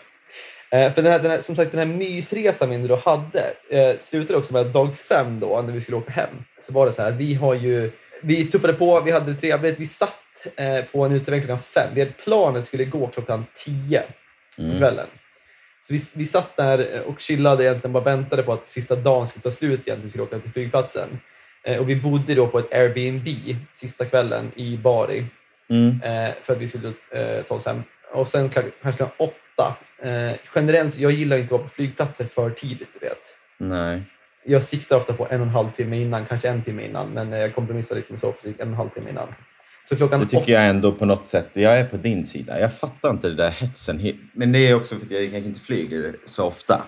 S7: Eh, För den här, den här, som sagt, den här mysresan vi då hade eh, slutade också med att dag fem då, när vi skulle åka hem, så var det så här att vi har ju, vi tuffade på, vi hade det trevligt, vi satt eh, på en uteservering klockan fem. Vi hade planen skulle gå klockan tio. på
S1: Mm.
S7: kvällen. Så vi, vi satt där eh, och chillade egentligen bara väntade på att sista dagen skulle ta slut egentligen, vi skulle åka till flygplatsen. Eh, Och vi bodde då på ett Airbnb sista kvällen i Bari
S1: Mm.
S7: eh, för att vi skulle eh, ta oss hem. Och sen klack- kanske klockan åtta. Eh, generellt, jag gillar inte att vara på flygplatser för tidigt, du vet.
S1: Nej.
S7: Jag siktar ofta på en och en halv timme innan, kanske en timme innan, men eh, jag kompromissar lite med Sofie, så gick en och en halv timme innan. Så klockan
S1: Det
S7: åtta,
S1: tycker jag ändå på något sätt. Jag är på din sida. Jag fattar inte det där hetsen. he- Men det är också för att jag kanske inte flyger så ofta.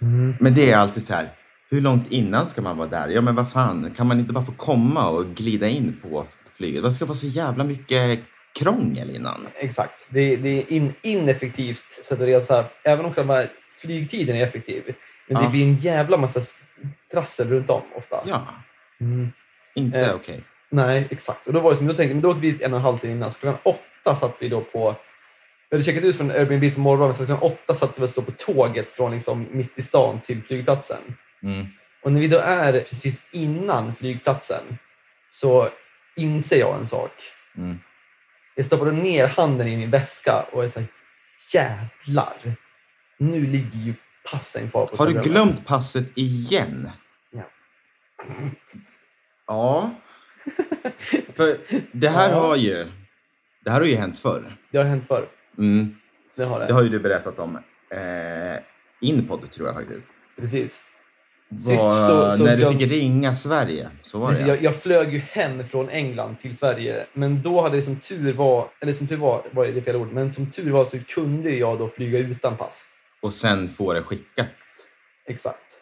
S7: Mm.
S1: Men det är alltid så här. Hur långt innan ska man vara där? Ja, men vad fan. Kan man inte bara få komma och glida in på flyget? Vad ska det vara så jävla mycket krångel innan?
S7: Exakt. Det, det är in, ineffektivt sätt att resa. Även om själva flygtiden är effektiv. Men
S1: Ja.
S7: det blir en jävla massa s- trassel runt om ofta.
S1: Ja,
S7: Mm.
S1: inte
S7: Eh,
S1: okej.
S7: Nej, exakt. Och då var det som jag tänkte, men då åkte vi dit en och en halv timme innan. Så klockan åtta satt vi då på... Vi hade checkat ut från Airbnb på morgonen, så klockan åtta satt vi oss då på tåget från liksom mitt i stan till flygplatsen.
S1: Mm.
S7: Och när vi då är precis innan flygplatsen så inser jag en sak.
S1: Mm.
S7: Jag stoppade ner handen i min väska och jag sa jävlar. Nu ligger ju passen kvar på
S1: Har du
S7: tablån."
S1: glömt passet igen?
S7: Ja.
S1: Ja. För det här
S7: Ja.
S1: har ju... Det här har ju hänt förr.
S7: Det har hänt förr.
S1: Mm.
S7: Det har det.
S1: Det har ju du berättat om. Eh, Inpod tror jag faktiskt.
S7: Precis. Sist
S1: Var,
S7: så- så
S1: när du
S7: glöm-
S1: fick ringa Sverige. Så var det
S7: Precis,
S1: ja.
S7: jag, jag flög ju hem från England till Sverige, men då hade det som tur var, eller som tur var, var det fel ord, men som tur var så kunde jag då flyga utan pass.
S1: Och sen få det skickat.
S7: Exakt.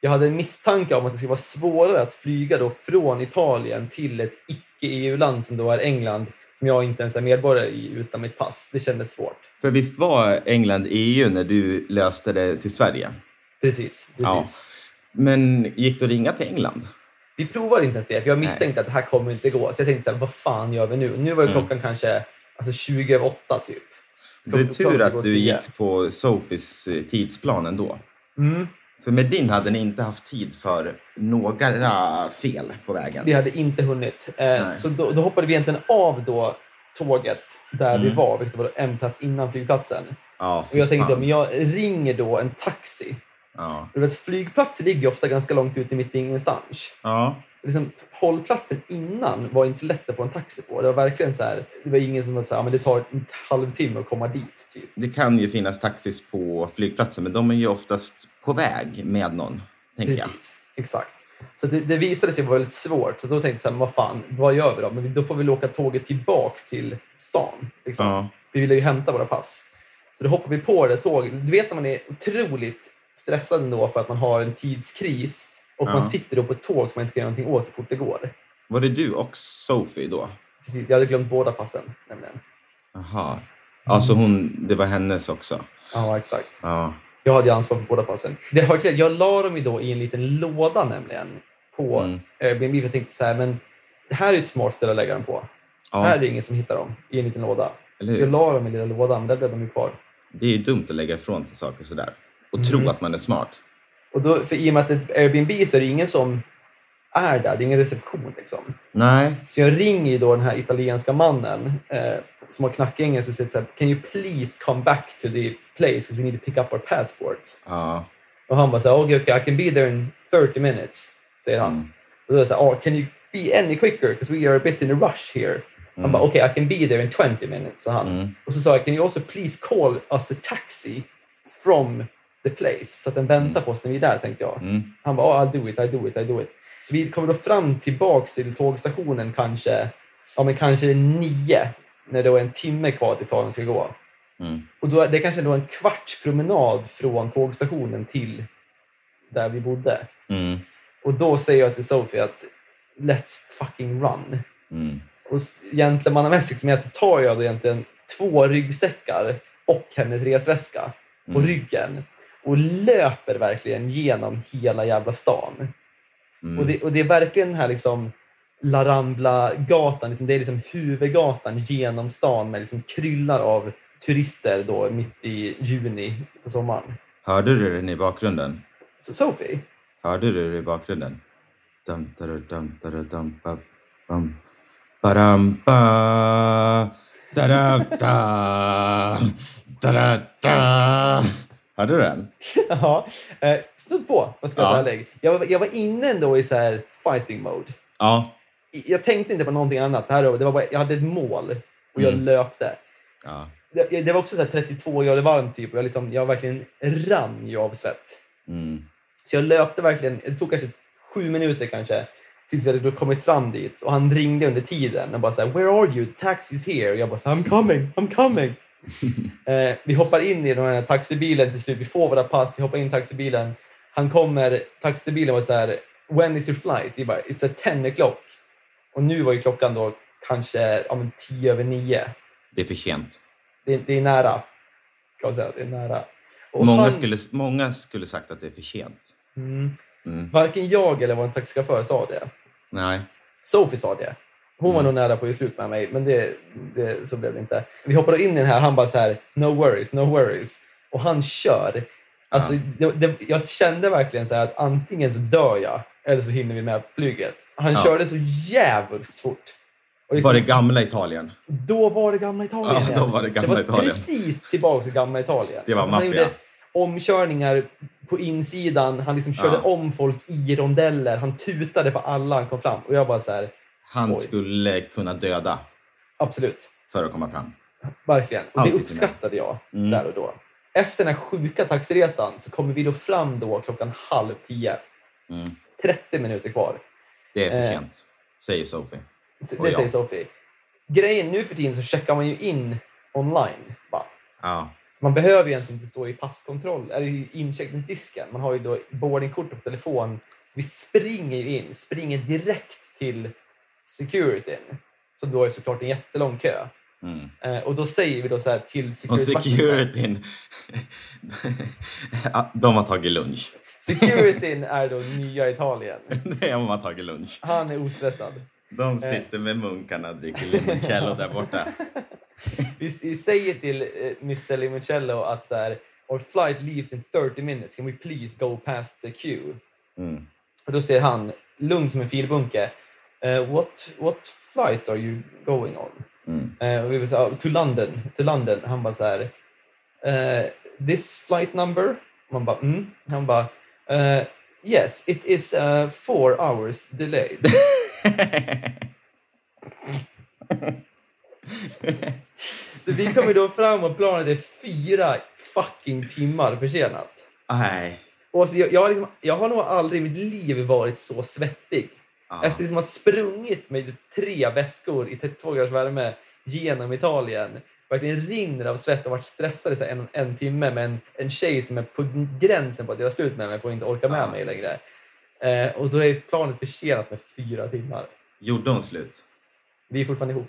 S7: Jag hade en misstanke om att det skulle vara svårare att flyga då från Italien till ett icke-EU-land som då är England som jag inte ens är medborgare i utan mitt pass. Det kändes svårt.
S1: För visst var England EU när du löste det till Sverige?
S7: Precis. precis.
S1: Ja. Men gick du att ringa till England?
S7: Vi provade inte ens det, för jag misstänkte att det här kommer inte gå. Så jag tänkte så här, vad fan gör vi nu? Nu var ju
S1: Mm.
S7: klockan kanske alltså 20 över åtta typ.
S1: Det är
S7: Klockan- klockan
S1: tur
S7: ska
S1: att
S7: gå
S1: du
S7: tio.
S1: gick på Sophies eh, tidsplan ändå.
S7: Mm.
S1: För med din hade ni inte haft tid för några fel på vägen.
S7: Vi hade inte hunnit. Eh,
S1: Nej.
S7: så då, då hoppade vi egentligen av då tåget där vi
S1: Mm.
S7: var, vilket var en plats innan flygplatsen.
S1: Ja,
S7: Och
S1: fy
S7: jag tänkte,
S1: fan.
S7: men jag ringer då en taxi.
S1: Ja.
S7: Och du vet, flygplatser ligger ju ofta ganska långt ute mitt i ingenstans.
S1: Ja.
S7: Liksom, hållplatsen innan var inte lätt att få en taxi på. Det var verkligen så här, det var ingen som var så här, "Ja, men det tar en halvtimme att komma dit. Typ.
S1: Det kan ju finnas taxis på flygplatsen, men de är ju oftast på väg med någon, tänker jag.
S7: Precis, exakt. Så det, det visade sig vara väldigt svårt. Så då tänkte jag, så här, vad fan, vad gör vi då? Men vi- då får vi väl åka tåget tillbaks till stan. Liksom.
S1: Ja.
S7: Vi ville ju hämta våra pass. Så då hoppar vi på det tåget. Du vet när man är otroligt stressad ändå för att man har en tidskris och
S1: Ja.
S7: man sitter då på ett tåg som man inte kan göra någonting åt hur fort det går.
S1: Var det du och Sophie då?
S7: Precis, jag hade glömt båda passen nämligen.
S1: Jaha. Alltså hon, det var hennes också.
S7: Ja, exakt.
S1: Ja.
S7: Jag hade ju ansvar för båda passen. Det hör till, att jag la dem ju då i en liten låda nämligen på eh,
S1: Mm.
S7: Airbnb. För jag tänkte så här, men det här är ju ett smart ställe att lägga dem på. Här är
S1: Ja, Mm.
S7: det ingen som hittar dem i en liten låda.
S1: eller
S7: Så jag
S1: hur?
S7: la dem i lilla lådan, men där blev de ju kvar.
S1: Det är ju dumt att lägga ifrån sig saker sådär och
S7: Mm.
S1: tro att man är smart.
S7: Och då, för i och med att det är Airbnb så är det ingen som är där. Det är ingen reception liksom.
S1: Nej.
S7: Så jag ringer ju då den här italienska mannen eh, som har knackgängen och säger så här, Can you please come back to the place because we need to pick up our passports?
S1: Ja.
S7: Och han bara så här, okay, okay, I can be there in 30 minutes, säger han.
S1: Mm.
S7: Och då är jag så här, oh, can you be any quicker because we are a bit in a rush here. Han
S1: Mm.
S7: bara, okay, I can be there in 20 minutes, sa han.
S1: Mm.
S7: Och så sa jag, can you also please call us a taxi from the place? Så att den väntar på oss när vi är där, tänkte jag.
S1: Mm.
S7: Han bara, oh, I'll do it, I'll do it, I'll do it. Så vi kommer då fram tillbaks till tågstationen kanske, ja men kanske nio, när det var en timme kvar till planen ska gå.
S1: Mm.
S7: Och då, det kanske då var en kvarts promenad från tågstationen till där vi bodde.
S1: Mm.
S7: Och då säger jag till Sophie att let's fucking run.
S1: Mm.
S7: Och s- gentlemannamässigt som jag är så tar jag då egentligen två ryggsäckar och hennes resväska på
S1: Mm.
S7: ryggen och löper verkligen genom hela jävla stan.
S1: Mm.
S7: Och, det, och det är verkligen den här liksom La Rambla-gatan, liksom, det är liksom huvudgatan genom stan med liksom kryllar av turister då mitt i juni på sommaren.
S1: Hörde du den i bakgrunden?
S7: Så Sophie,
S1: Hörde du det i bakgrunden? Dum, da, da, dum, da, da, dum, ba, bum. Badam, ba, da, da, da, da, da, da. Hörde du den?
S7: ja, eh, snudd på, vad ska jag
S1: Ja.
S7: vara ärlig. Jag, var- jag var inne ändå i så här fighting mode.
S1: Ja.
S7: jag tänkte inte på någonting annat. Det här, det var bara, jag hade ett mål och jag
S1: Mm.
S7: löpte.
S1: ja.
S7: Det, det var också så här 32 grader varmt typ och jag, liksom, jag verkligen rann ju av svett.
S1: Mm.
S7: Så jag löpte verkligen, det tog kanske sju minuter kanske tills vi hade då kommit fram dit och han ringde under tiden och bara så här, “Where are you? The taxi's here” och jag bara så här, “I'm coming, I'm coming”. eh, vi hoppar in i den här taxibilen till slut, vi får våra pass, vi hoppar in i taxibilen. Han kommer, taxibilen var så här “When is your flight?” Vi bara “It's at 10 o'clock”. Och nu var ju klockan då kanske ja, men 10 över 9.
S1: Det är för sent.
S7: Det, är- det är nära. Kan man säga, det är nära. Och
S1: Många
S7: han-
S1: skulle, många skulle sagt att det är för sent.
S7: Mm,
S1: Mm.
S7: varken jag eller vår taxichaufför sa det.
S1: Nej.
S7: Sophie sa det. Hon var
S1: Mm.
S7: nog nära på att göra slut med mig, men det, det, så blev det inte. Vi hoppade in i den här, han bara så här, no worries, no worries. Och han kör. Alltså,
S1: Ja.
S7: det, det, jag kände verkligen så här att antingen så dör jag eller så hinner vi med flyget. Han
S1: Ja.
S7: körde så jävligt fort. Och liksom,
S1: Var det gamla Italien?
S7: då var det gamla Italien
S1: Ja,
S7: igen.
S1: då var det gamla
S7: var
S1: Italien.
S7: precis tillbaka till gamla Italien. Alltså,
S1: Det var
S7: han
S1: maffia.
S7: gjorde omkörningar på insidan, han liksom körde
S1: Ja.
S7: om folk i rondeller, han tutade på alla han kom fram. Och jag bara så här,
S1: Han
S7: Oj.
S1: skulle kunna döda
S7: absolut. för
S1: för att komma fram.
S7: Verkligen. Och det
S1: Alltid
S7: uppskattade jag
S1: Mm.
S7: där och då. Efter den här sjuka taxiresan så kommer vi då fram då klockan halv tio.
S1: Mm.
S7: 30 minuter kvar.
S1: Det är för
S7: Eh.
S1: sent, säger Sophie.
S7: Så-
S1: Och
S7: Det
S1: ja.
S7: säger Sofie. Grejen nu för tiden så checkar man ju in online. Va?
S1: Ja.
S7: Så man behöver ju egentligen inte stå i passkontroll eller i incheckningsdisken. Man har ju då boardingkortet på telefon. Så vi springer ju in, springer direkt till securityn. Så då är det såklart en jättelång kö.
S1: Mm.
S7: Eh, och då säger vi då så här till
S1: Och
S7: security-vakten så här,
S1: securityn, Ja, de har tagit lunch.
S7: Securityn är då nya Italien.
S1: Det är om man har tagit lunch.
S7: Han är ostressad. Eh.
S1: De sitter med munkarna och dricker limoncello där borta.
S7: Vi, vi säger till eh, Mr Limoncello att så här, our flight leaves in 30 minutes, can we please go past the queue?
S1: Mm.
S7: Och då säger han, lugn som en filbunke, eh, what, what flight are you going on?
S1: Mm.
S7: Eh, och vi var så här, to London, to London. Han bara så här, eh, this flight number? Man bara, mm. Han bara, eh, yes, it is eh, four hours delayed. Så vi kommer då fram och planet är fyra fucking timmar försenat.
S1: Nej.
S7: Och alltså, jag, jag, har liksom, jag har nog aldrig i mitt liv varit så svettig.
S1: Ja.
S7: Efter att liksom ha sprungit med tre väskor i 32 graders värme genom Italien. Verkligen rinner av svett och varit stressad i så här en, en timme med en, en tjej som är på gränsen på att göra slut med mig för att inte orka med
S1: Ja.
S7: mig längre. Eh, och då är planet försenat med fyra timmar.
S1: Gjorde hon slut?
S7: Vi är fortfarande ihop.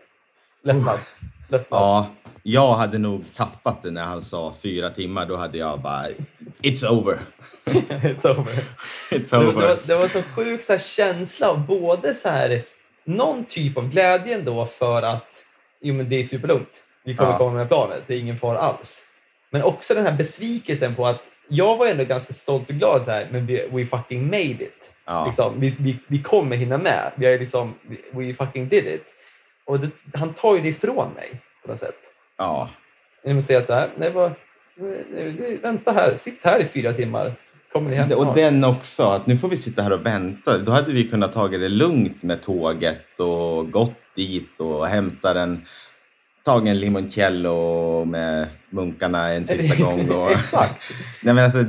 S7: Lättnad. Lättnad.
S1: Ja, jag hade nog tappat det när han sa fyra timmar. Då hade jag bara, it's over.
S7: It's over.
S1: It's
S7: Det, var- det, var,
S1: over.
S7: det var så sjuk så här, känsla av både så här, någon typ av glädje ändå för att jo, men det är superlugnt. Vi kommer
S1: Ja.
S7: komma med planet. Det är ingen fara alls. Men också den här besvikelsen på att jag var ändå ganska stolt och glad så här, men vi, we fucking made it.
S1: Ja.
S7: Liksom, vi, vi, vi kommer hinna med. Vi är liksom, we fucking did it. Och det, han tar ju det ifrån mig på något sätt.
S1: Ja.
S7: Genom att säga att så här, nej, bara, nej, nej, eh, vänta här, sitt här i fyra timmar så kommer ni hem
S1: Och
S7: snart.
S1: den också, att nu får vi sitta här och vänta. Då hade vi kunnat ta det lugnt med tåget och gått dit och hämtat en, tagit en limoncello med munkarna en sista gång. Och...
S7: Exakt.
S1: Nej, men alltså,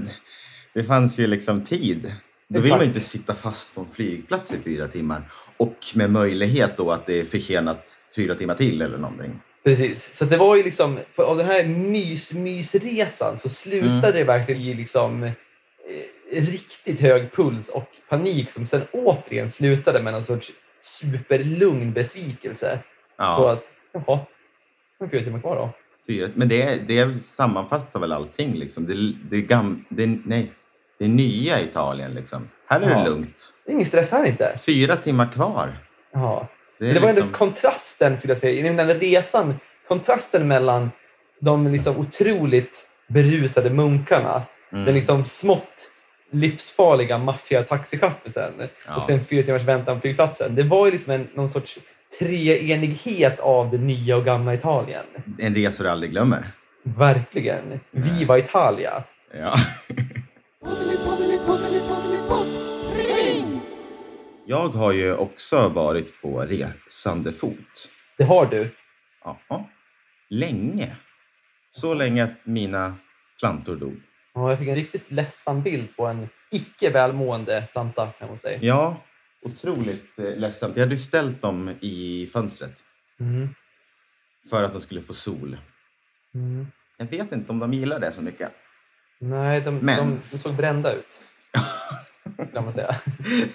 S1: det fanns ju liksom tid. Då vill man
S7: Exakt.
S1: ju inte sitta fast på en flygplats i fyra timmar. Och med möjlighet då att det är försenat fyra timmar till eller någonting.
S7: Precis. Så att det var ju liksom, för av den här mys-mysresan så slutade
S1: Mm.
S7: det verkligen i liksom eh, riktigt hög puls och panik som sen återigen slutade med någon sorts superlugn besvikelse. På
S1: Ja,
S7: att, jaha, det är fyra timmar kvar då.
S1: fyra. Men det, det sammanfattar väl allting liksom. Det, det, gam, det, nej, det nya Italien liksom. Här är
S7: Ja.
S1: det lugnt.
S7: Det är ingen stress här inte.
S1: Fyra timmar kvar.
S7: Ja.
S1: Det
S7: Det,
S1: är
S7: var
S1: liksom,
S7: ändå kontrasten, skulle jag säga, i den här resan. Kontrasten mellan de liksom otroligt berusade munkarna
S1: mm,
S7: Den liksom smått livsfarliga maffia-taxichaffisen
S1: Ja.
S7: och sen fyra timmars väntan på flygplatsen. Det var ju liksom en, någon sorts treenighet av det nya och gamla Italien.
S1: En resa du aldrig glömmer. Mm.
S7: Verkligen. Viva Italia!
S1: Ja. Jag har ju också varit på resande fot.
S7: Det har du.
S1: Ja. Länge. Så länge att mina plantor dog.
S7: Ja, jag fick en riktigt ledsam bild på en icke välmående planta hemma hos dig.
S1: Ja, otroligt eh, ledsamt. Jag hade ju ställt dem i fönstret
S7: Mm.
S1: för att de skulle få sol.
S7: Mm.
S1: Jag vet inte om de gillar det så mycket.
S7: Nej, de,
S1: Men-
S7: de, de såg brända ut. Kan man säga.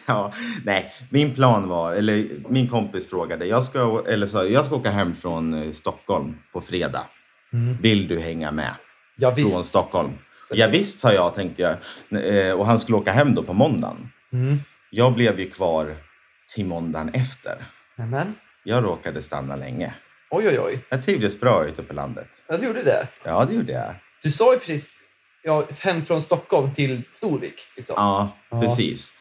S1: ja, nej, min plan var, eller min kompis frågade, jag ska, eller så, jag ska åka hem från eh, Stockholm på fredag.
S7: Mm.
S1: Vill du hänga med
S7: Ja, visst.
S1: från Stockholn?
S7: Så-
S1: Ja, visst, sa jag, tänkte jag. Eh, Och han skulle åka hem då på måndagen.
S7: Mm.
S1: Jag blev ju kvar till måndagen efter.
S7: Nämen.
S1: Jag råkade stanna länge.
S7: Oj, oj, oj.
S1: Jag trivdes bra ute på landet.
S7: Ja, du gjorde det.
S1: Ja, det gjorde jag.
S7: Du sa ju precis ja, hem från Stockholm till Storvik. Liksom. Mm.
S1: Ja,
S7: Ja.
S1: precis.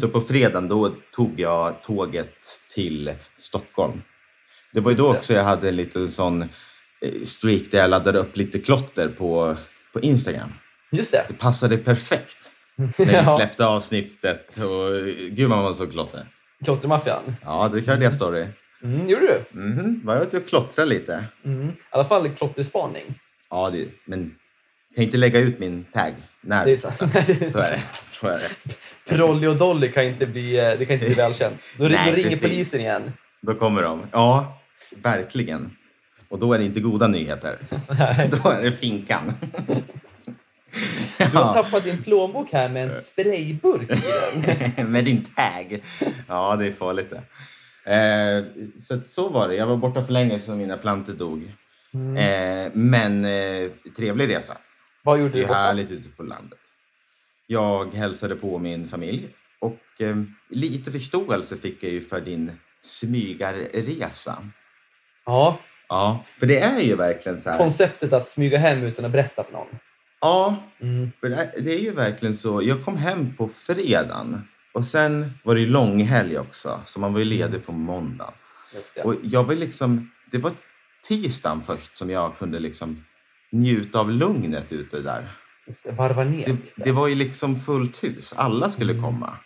S1: Så på fredagen då tog jag tåget till Stockholm. Det var ju då
S7: Just det.
S1: också jag hade en liten sån eh, streak där jag laddade upp lite klotter på, på Instagram.
S7: Just det.
S1: Det passade perfekt när vi släppte avsnittet. Och, eh, gud vad man såg klotter.
S7: Klottermaffian.
S1: Ja, det körde jag story.
S7: Mm, gjorde du?
S1: Mhm, var jag ute och klottrade lite?
S7: Mm. I alla fall klotterspaning.
S1: Ja, det, men kan inte lägga ut min tagg. när
S7: Det är sant. Nej, det är
S1: Så är
S7: sant.
S1: det. Så är det.
S7: Prolly och Dolly kan inte bli, eh, det kan inte bli välkänt. Då, ri-
S1: Nej,
S7: då ringer
S1: precis.
S7: polisen igen.
S1: Då kommer de. Ja, verkligen. Och då är det inte goda nyheter.
S7: Nej.
S1: Då är det finkan.
S7: Du har
S1: Ja,
S7: tappat din plånbok här med en sprayburk i den.
S1: med din tag. Ja, det är farligt det. Eh, så, att så var det. Jag var borta för länge så mina plantor dog. Eh, men eh, trevlig resa.
S7: Vad gjorde
S1: Det
S7: du?
S1: är härligt ute på landet. Jag hälsade på min familj och eh, lite förståelse fick jag ju för din smygarresa.
S7: Ja,
S1: Ja, för det är ju verkligen så här.
S7: konceptet att smyga hem utan att berätta för någon.
S1: Ja,
S7: Mm.
S1: för det är- det är ju verkligen så. Jag kom hem på fredagen och sen var det ju långhelg också, så man var ju ledig på måndag.
S7: Just det.
S1: Och jag var liksom, det var tisdagen först som jag kunde liksom njuta av lugnet ute där.
S7: Just det. Varva ner
S1: Det,
S7: lite.
S1: det var ju liksom fullt hus. Alla skulle komma.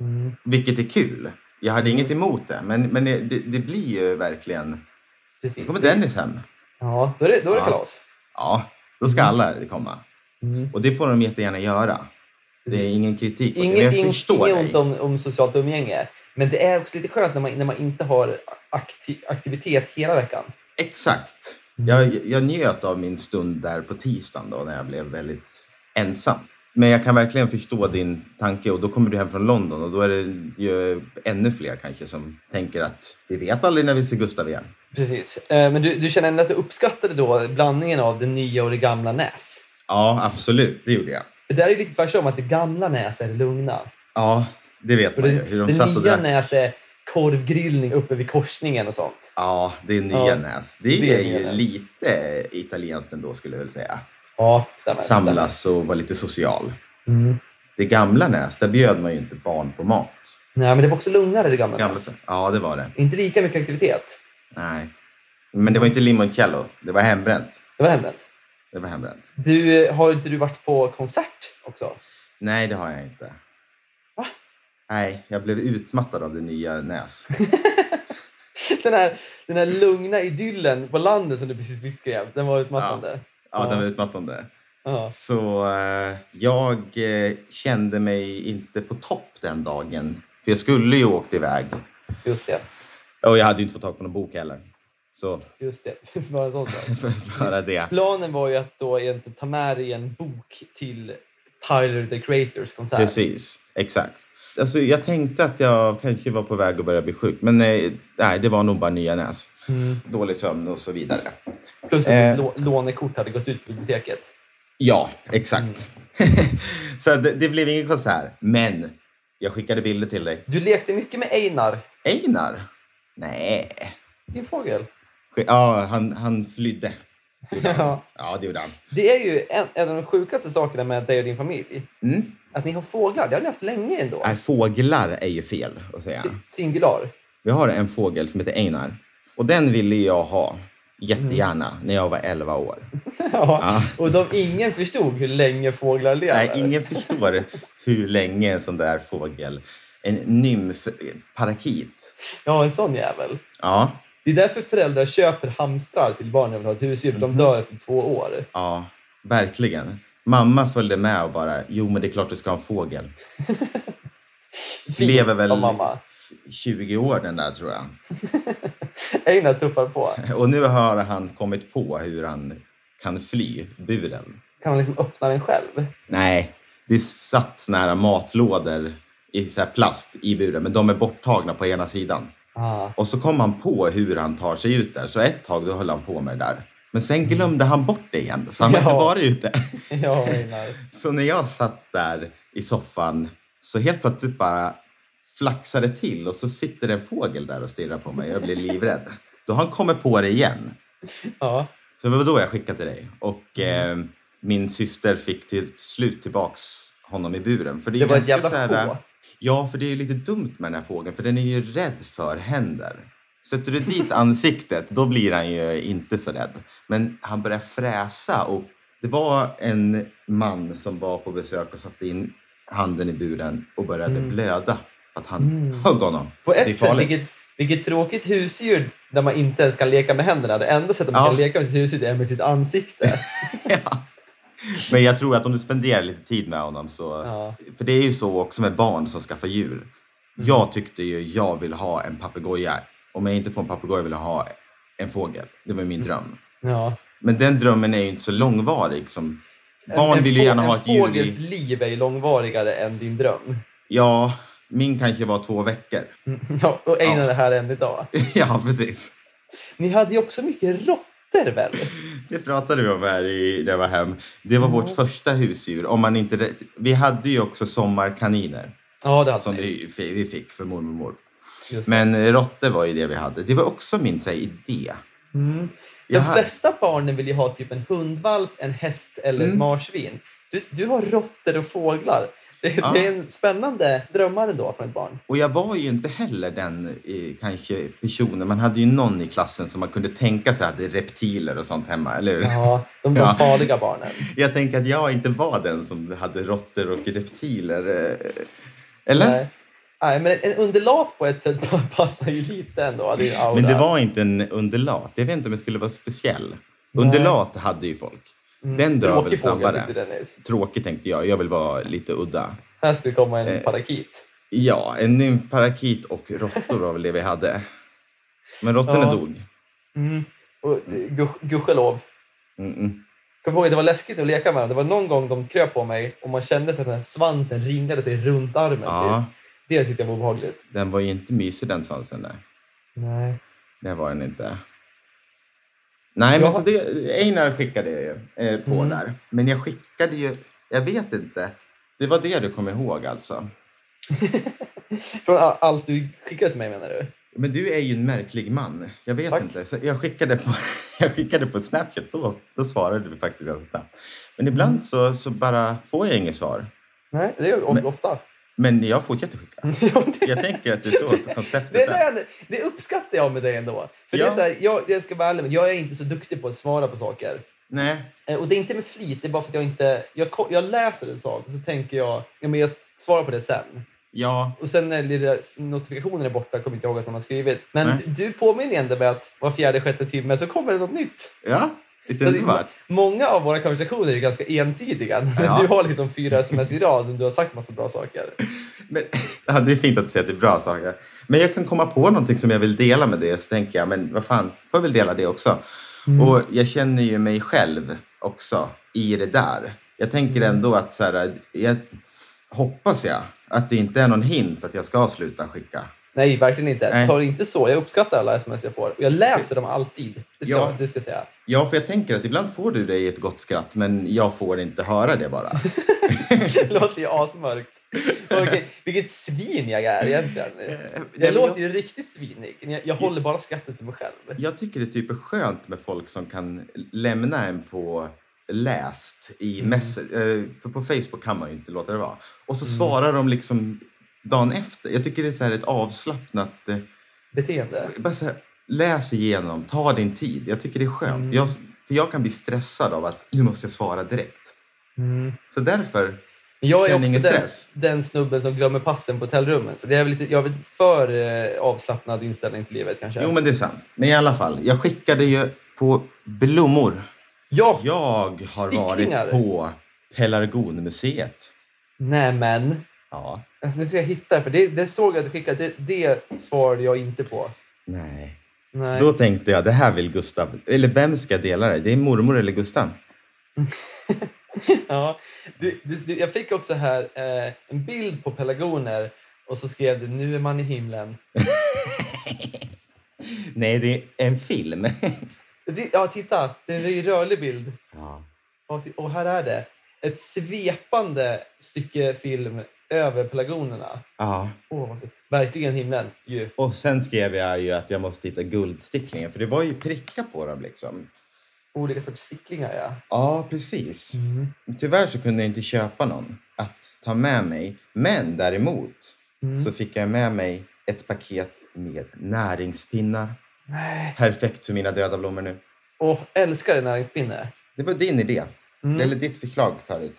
S7: Mm.
S1: Vilket är kul. Jag hade inget emot det, men, men det, det blir ju verkligen... Nu
S7: Precis.
S1: kommer Dennis hem.
S7: Ja, då är det, då är det
S1: Ja.
S7: kalas.
S1: Ja, då ska alla komma.
S7: Mm.
S1: Och det får de jättegärna göra. Det är ingen kritik mot det,
S7: Inget,
S1: men jag
S7: inget,
S1: förstår
S7: inget
S1: dig.
S7: ont om, om socialt umgänge. Men det är också lite skönt när man, när man inte har akti, aktivitet hela veckan.
S1: Exakt.
S7: Mm.
S1: Jag, jag njöt av min stund där på tisdagen då, när jag blev väldigt ensam. Men jag kan verkligen förstå din tanke och då kommer du hem från London och då är det ju ännu fler kanske som tänker att vi vet aldrig när vi ser Gustav igen.
S7: Precis. Eh, Men du, du känner ändå att du uppskattade då blandningen av det nya och det gamla Näs?
S1: Ja, absolut. Det gjorde jag.
S7: Det där är ju lite tvärtom, att det gamla Näs är det lugna.
S1: Ja, det vet
S7: Och
S1: man
S7: det,
S1: ju. Hur de
S7: det
S1: satt och
S7: nya
S1: drack.
S7: Näs är korvgrillning uppe vid korsningen och sånt.
S1: Ja, det är nya
S7: Ja,
S1: Näs. Det,
S7: det är
S1: är
S7: nya
S1: ju
S7: Näs.
S1: lite italienskt ändå skulle jag väl säga.
S7: Ja, stämmer. stämmer.
S1: Samlas och vara lite social.
S7: Mm.
S1: Det gamla Näs, där bjöd man ju inte barn på mat.
S7: Nej, men det var också lugnare det gamla,
S1: Gamla,
S7: Näs.
S1: ja, det var det.
S7: Inte lika mycket aktivitet.
S1: Nej. Men det var inte limoncello. Det var hembränt.
S7: Det var hembränt.
S1: Det var hembränt.
S7: Du, eh, har inte du varit på konsert också?
S1: Nej, det har jag inte.
S7: Va?
S1: Nej, jag blev utmattad av det nya Näs.
S7: Den här, den här lugna idyllen på landet som du precis beskrev, den var utmattande.
S1: Ja,
S7: Ja.
S1: den var utmattande.
S7: Ja.
S1: Så eh, jag eh, kände mig inte på topp den dagen. För jag skulle ju åkt iväg.
S7: just det.
S1: Och jag hade ju inte fått tag på någon bok heller. Så
S7: Just det. Bara en sån sak.
S1: för bara det.
S7: Planen var ju att då egentligen ta med dig en bok till Tyler the Creators konsert.
S1: Precis, exakt. Alltså, jag tänkte att jag kanske var på väg att börja bli sjuk. Men eh, nej, det var nog bara nya näs.
S7: Mm.
S1: Dålig sömn och så vidare.
S7: Plus att
S1: Eh.
S7: ditt lå- lånekort hade gått ut på biblioteket.
S1: Ja, exakt. så det, det blev ingen konsert. Men jag skickade bilder till dig.
S7: Du lekte mycket med Einar,
S1: Einar? Nej.
S7: din fågel.
S1: Sk- Ja, han, han flydde. Gjorde han.
S7: Ja.
S1: Ja, det gjorde han.
S7: Det är ju en, en av de sjukaste sakerna med dig och din familj.
S1: Mm.
S7: Att ni har fåglar, det har ni haft länge ändå.
S1: Nej, Äh, fåglar är ju fel att säga.
S7: Si- Singular.
S1: Vi har en fågel som heter Einar. Och den ville jag ha jättegärna när jag var 11 år.
S7: ja.
S1: Ja.
S7: Och de, ingen förstod hur länge fåglar lever.
S1: Nej, ingen förstår hur länge en sån där fågel, en nymfparakit.
S7: Ja, en sån jävel.
S1: Ja,
S7: Det är därför föräldrar köper hamstrar till barnen och vill ha ett husdjur. för
S1: Mhm.
S7: De dör efter två år.
S1: ja, verkligen. Mamma följde med och bara, jo men det är klart du ska ha en fågel. Lever väl
S7: av mamma.
S1: 20 år den där tror jag.
S7: Einar tuffar på.
S1: Och nu har han kommit på hur han kan fly buren.
S7: Kan man liksom öppna den själv?
S1: Nej, det satt såna här matlådor i så här plast i buren, men de är borttagna på ena sidan.
S7: Ah.
S1: Och så kom han på hur han tar sig ut där, så ett tag då höll han på med det där. Men sen glömde han bort det igen, så han har inte
S7: Ja.
S1: varit ute.
S7: Ja, Einar.
S1: Så när jag satt där i soffan så helt plötsligt bara flaxade till och så sitter en fågel där och stirrar på mig. Jag blir livrädd. Då har han kommit på det igen.
S7: Ja.
S1: Så det var då jag skickade till dig. Och
S7: Mm.
S1: eh, min syster fick till slut tillbaks honom i buren. För det, är
S7: Det
S1: ju
S7: var ett
S1: ganska
S7: jävla
S1: så här,
S7: sjå.
S1: Ja, för det är ju lite dumt med den här fågeln, för den är ju rädd för händer. Sätter du dit ansiktet, då blir han ju inte så rädd. Men han börjar fräsa och det var en man som var på besök och satte in handen i buren och började blöda för att han
S7: Mm.
S1: högg honom.
S7: På
S1: Så det är
S7: ett sätt,
S1: farligt.
S7: vilket, vilket tråkigt husdjur där man inte ens kan leka med händerna. Det enda sättet man
S1: Ja.
S7: kan leka med sitt husdjur är med sitt ansikte.
S1: Ja. Men jag tror att om du spenderar lite tid med honom så...
S7: Ja. Mm.
S1: För det är ju så också med barn som skaffar djur. Jag tyckte ju jag vill ha en papegoja. Om jag inte får en papegoja vill jag ha en fågel. Det var ju
S7: Mm.
S1: min dröm.
S7: Ja.
S1: Men den drömmen är ju inte så långvarig. Som... Barn
S7: en,
S1: vill ju
S7: få-
S1: gärna ha ett
S7: En
S1: djur
S7: fågels
S1: i...
S7: liv är ju långvarigare än din dröm.
S1: Ja, Min kanske var två veckor.
S7: Ja, och ägna
S1: Ja.
S7: det här än idag.
S1: ja, precis.
S7: Ni hade ju också mycket råttor väl?
S1: Det pratade vi om här i, när jag var hem. Det
S7: Mm.
S1: var vårt första husdjur. Om man inte, vi hade ju också sommarkaniner
S7: Ja, det alltså hade
S1: som
S7: ni.
S1: vi, vi fick för mormor och morfar.
S7: Just det.
S1: Men eh, råttor var ju det vi hade. Det var också min så här, idé.
S7: Mm.
S1: Jag
S7: De
S1: hade-
S7: flesta barnen vill ju ha typ en hundvalp, en häst eller ett
S1: Mm.
S7: marsvin. Du, du har råttor och fåglar. Det,
S1: Ja.
S7: det är en spännande drömmar ändå från ett barn.
S1: Och jag var ju inte heller den eh, kanske personen. Man hade ju någon i klassen som man kunde tänka sig hade reptiler och sånt hemma, eller hur?
S7: Ja, de, de
S1: Ja.
S7: farliga barnen.
S1: Jag tänker att jag inte var den som hade råttor och reptiler. eh, Eller?
S7: Nej. Nej, men en undulat på ett sätt bara passar ju lite ändå. Det är ju aura.
S1: Men det var inte en undulat. Jag vet inte om jag skulle vara speciell. Undulat hade ju folk.
S7: Mm,
S1: den dör väl
S7: tråkig fågel,
S1: snabbare.
S7: tyckte Dennis.
S1: Tråkigt tänkte jag. Jag vill vara lite udda.
S7: Här skulle komma en
S1: Eh.
S7: parakit.
S1: Ja, en nymfparakit och råttor var väl det vi hade. Men råttorna
S7: Ja.
S1: dog.
S7: Mm. Och, eh, gush- gudskelov.
S1: Mm-mm.
S7: Kom ihåg, det var läskigt att leka med dem. Det var någon gång de kröp på mig och man kände sig att den här svansen ringlade sig runt armen.
S1: Ja,
S7: Typ. Det tyckte jag var obehagligt.
S1: den var ju inte mysig den svansen där.
S7: Nej.
S1: Det var den inte. Nej, men
S7: Jag-
S1: så det, Einar skickade jag ju eh, på
S7: Mm.
S1: där. Men jag skickade ju, jag vet inte. Det var det du kom ihåg alltså.
S7: Från a- allt du skickade till mig menar du?
S1: Men du är ju en märklig man. Jag vet
S7: Tack.
S1: inte. Så jag, skickade på, jag skickade på Snapchat. Då, då svarade du faktiskt ganska snabbt. Men ibland
S7: Mm.
S1: så, så bara får jag inget svar.
S7: Nej, det är
S1: Men-
S7: of- ofta.
S1: Men jag fortsätter skicka.
S7: Ja, det-
S1: Jag tänker att det är så konceptet
S7: det,
S1: är.
S7: är, det uppskattar jag med dig ändå. För det
S1: Ja.
S7: är så här, jag, jag ska vara ärlig, men jag är inte så duktig på att svara på saker.
S1: Nej,
S7: Eh, Och det är inte med flit, det är bara för att jag inte... Jag, ko- jag läser en sak och så tänker jag, ja, men jag svarar på det sen.
S1: ja,
S7: Och sen när lilla notifikationen är borta kommer jag inte ihåg att man har skrivit. Men
S1: Nej.
S7: du påminner ändå med att var fjärde, sjätte timme så kommer det något nytt.
S1: ja. Visst är
S7: Så
S1: det
S7: det-
S1: underbart?
S7: Många av våra konversationer är ju ganska ensidiga.
S1: Ja.
S7: Du har liksom fyra sms i rad som du har sagt massa bra saker.
S1: Men, ja, det är fint att du säger att det är bra saker. Men jag kan komma på någonting som jag vill dela med dig. Så tänker jag, men vad fan, får jag väl dela det också. Och jag känner ju mig själv också i det där. Jag tänker ändå att så här, jag hoppas jag att det inte är någon hint att jag ska sluta skicka.
S7: Nej, verkligen inte.
S1: Nej.
S7: Ta det inte så. Jag uppskattar alla sms jag får. Och jag läser dem alltid. Det ska,
S1: Ja.
S7: jag- det ska jag säga.
S1: Ja, för jag tänker att ibland får du dig ett gott skratt, men jag får inte höra det bara.
S7: Det låter ju asmörkt. Och vilket, vilket svin jag är egentligen.
S1: men
S7: Jag låter ju riktigt svinig. men Jag, jag håller bara skrattet för mig själv.
S1: Jag tycker det typ är skönt med folk som kan lämna en på läst i
S7: Mm.
S1: mess eh, För på Facebook kan man ju inte låta det vara. Och
S7: Mm.
S1: så svarar de liksom dagen efter. Jag tycker det är så här ett avslappnat... Eh,
S7: Beteende.
S1: bara så här, läs igenom, ta din tid. Jag tycker det är skönt.
S7: Mm.
S1: Jag, för jag kan bli stressad av att nu måste jag svara direkt. Så därför,
S7: Men Mm. Jag är
S1: Känner
S7: också
S1: ingen
S7: den,
S1: stress.
S7: den snubben som glömmer passen på hotellrummen. Så det är väl lite, jag har väl för eh, avslappnad inställning till livet kanske.
S1: jo men det är sant. Men i alla fall, jag skickade ju på blommor.
S7: ja.
S1: Jag har
S7: Sticklingar.
S1: varit på Pelargonmuseet.
S7: Nej men.
S1: Ja.
S7: Alltså, nu ska jag hitta det, för det, det såg jag att du skickade. Det, det svarade jag inte på.
S1: Nej.
S7: Nej.
S1: Då tänkte jag, det här vill Gustav. Eller vem ska dela det? Det är mormor eller Gustav?
S7: Ja, du, du, du, jag fick också här eh, en bild på pelargoner och så skrev du nu är man i himlen.
S1: Nej, det är en film.
S7: Det, ja, titta, det är en rörlig bild.
S1: ja.
S7: Och, ti- och här är det. Ett svepande stycke film över pelargonerna.
S1: ja.
S7: Åh, vad fint. verkligen himlen ju.
S1: Och sen skrev jag ju att jag måste hitta guldsticklingar, för det var ju prickar på dem liksom.
S7: Olika sorters sticklingar, ja.
S1: Ja, precis. Tyvärr så kunde jag inte köpa någon att ta med mig. Men däremot
S7: Mm.
S1: så fick jag med mig ett paket med näringspinnar.
S7: Nej.
S1: Perfekt för mina döda blommor nu.
S7: Och älskar en näringspinne.
S1: Det var din idé,
S7: Mm.
S1: eller ditt förslag förut.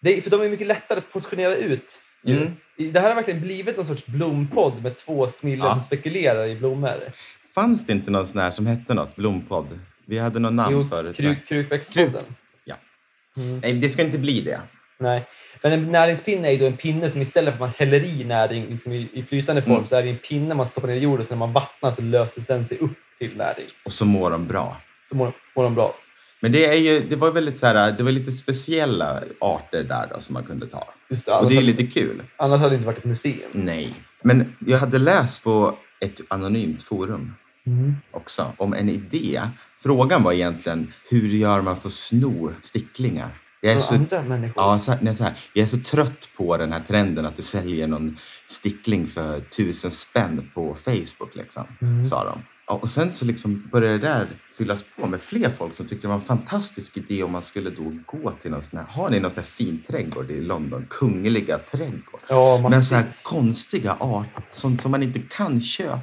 S7: Det, är- för de är mycket lättare att portionera ut. ju.
S1: Mm.
S7: I- Det här har verkligen blivit någon sorts blompodd med två snillen
S1: Ja.
S7: som spekulerar i blommor.
S1: Fanns det inte någon sån här som hette något? Blompodd? Vi hade någon namn
S7: Jo,
S1: förut.
S7: kruk, krukväxtpodden.
S1: Ja.
S7: Mm,
S1: Nej, det ska inte bli det.
S7: nej. Men en näringspinne är ju då en pinne som istället för att man häller i näring liksom i, i flytande form
S1: Mm.
S7: så är det en pinne man stoppar ner i jorden så när man vattnar så löses den sig upp till näring.
S1: Och så mår de bra.
S7: Så mår, mår de bra.
S1: Men det, är ju, det var ju väldigt så här, det var lite speciella arter där då, som man kunde ta.
S7: Just det,
S1: Och
S7: annars,
S1: det är ju
S7: hade,
S1: lite kul.
S7: annars hade det inte varit ett museum.
S1: Nej. Men jag hade läst på ett anonymt forum Mm. också om en idé. Frågan var egentligen, hur gör man för att sno sticklingar? Jag är
S7: Från
S1: så
S7: andra människor.
S1: Alltså, Ja, så här, nej, så här. Jag är så trött på den här trenden att du säljer någon stickling för tusen spänn på Facebook, liksom,
S7: Mm.
S1: sa de. Ja, och sen så liksom började det där fyllas på med fler folk som tyckte det var en fantastisk idé om man skulle då gå till någon sån här, har ni någon sån här fin trädgård i London? Kungliga trädgård.
S7: Ja,
S1: Men så här
S7: massvis.
S1: konstiga arter, sånt som man inte kan köpa.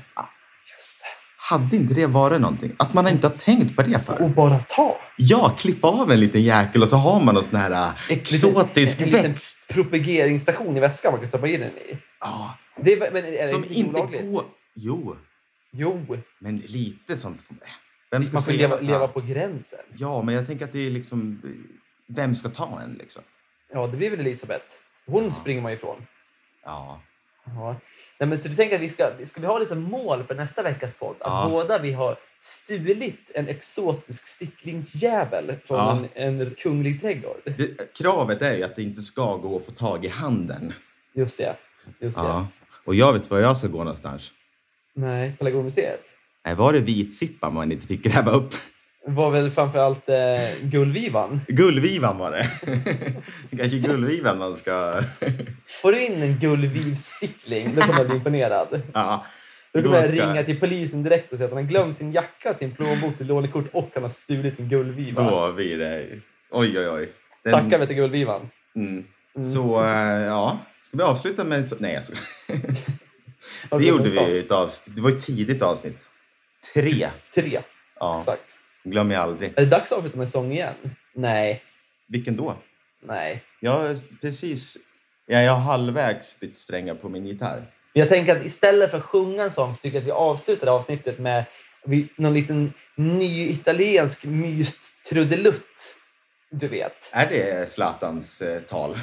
S7: Just det.
S1: Hade inte det varit någonting? Att man inte har tänkt på det förr?
S7: Och bara ta.
S1: Ja, klippa av en liten jäkel och så har man någon sån här äh, exotisk
S7: en, liten
S1: växt.
S7: propageringsstation i väskan man kan stoppa in den i.
S1: Ja,
S7: Det är, men är det
S1: som
S7: inte
S1: inte
S7: olagligt?
S1: går... Jo,
S7: Jo,
S1: men lite sånt. får man- Vem ska
S7: man får
S1: säga-
S7: leva, leva på gränsen.
S1: Ja, men jag tänker att det är liksom... Vem ska ta en liksom?
S7: Ja, det blir väl Elisabeth. Hon springer man ifrån.
S1: Ja.
S7: Ja. Nej, men så du tänker att vi ska, ska vi ha det som mål för nästa veckas podd? Att
S1: Ja.
S7: båda vi har stulit en exotisk sticklingsjävel från
S1: Ja.
S7: en, en kunglig trädgård.
S1: Det, kravet är ju att det inte ska gå att få tag i handen.
S7: Just det. Just det.
S1: Ja. Och jag vet var jag ska gå någonstans.
S7: Nej, Pelargonmuseet
S1: Nej, var det vitsippan man inte fick gräva upp?
S7: var väl framförallt eh, gullvivan.
S1: Gullvivan var det. Kanske gullvivan man ska...
S7: Får du in en gullvivstickling, då kommer jag bli imponerad.
S1: Ja.
S7: Då kommer
S1: Då
S7: jag
S1: ska-
S7: ringa till polisen direkt och säga att han har glömt sin jacka, sin plånbok, sitt lånekort och han har stulit en gullviva.
S1: Då blir det... Oj, oj, oj. Den-
S7: Tackar vi till gullvivan.
S1: Mm.
S7: Mm.
S1: Så eh, ja, ska vi avsluta med... Så... Nej, jag skojar.
S7: Vad
S1: Det
S7: blev
S1: gjorde
S7: det
S1: vi ju i ett avsnitt. Det var ett tidigt avsnitt. Tre.
S7: Tre,
S1: Ja,
S7: exakt.
S1: glöm jag aldrig.
S7: Är det dags att avsluta med en sång igen? Nej,
S1: Vilken då?
S7: nej.
S1: Jag har precis... Ja, jag har halvvägs bytt strängar på min gitarr.
S7: Men jag tänker att istället för att sjunga en sång så tycker jag att vi avslutar det här avsnittet med vi- någon liten ny italiensk myst trudelutt. Du vet.
S1: Är det Zlatans eh, tal?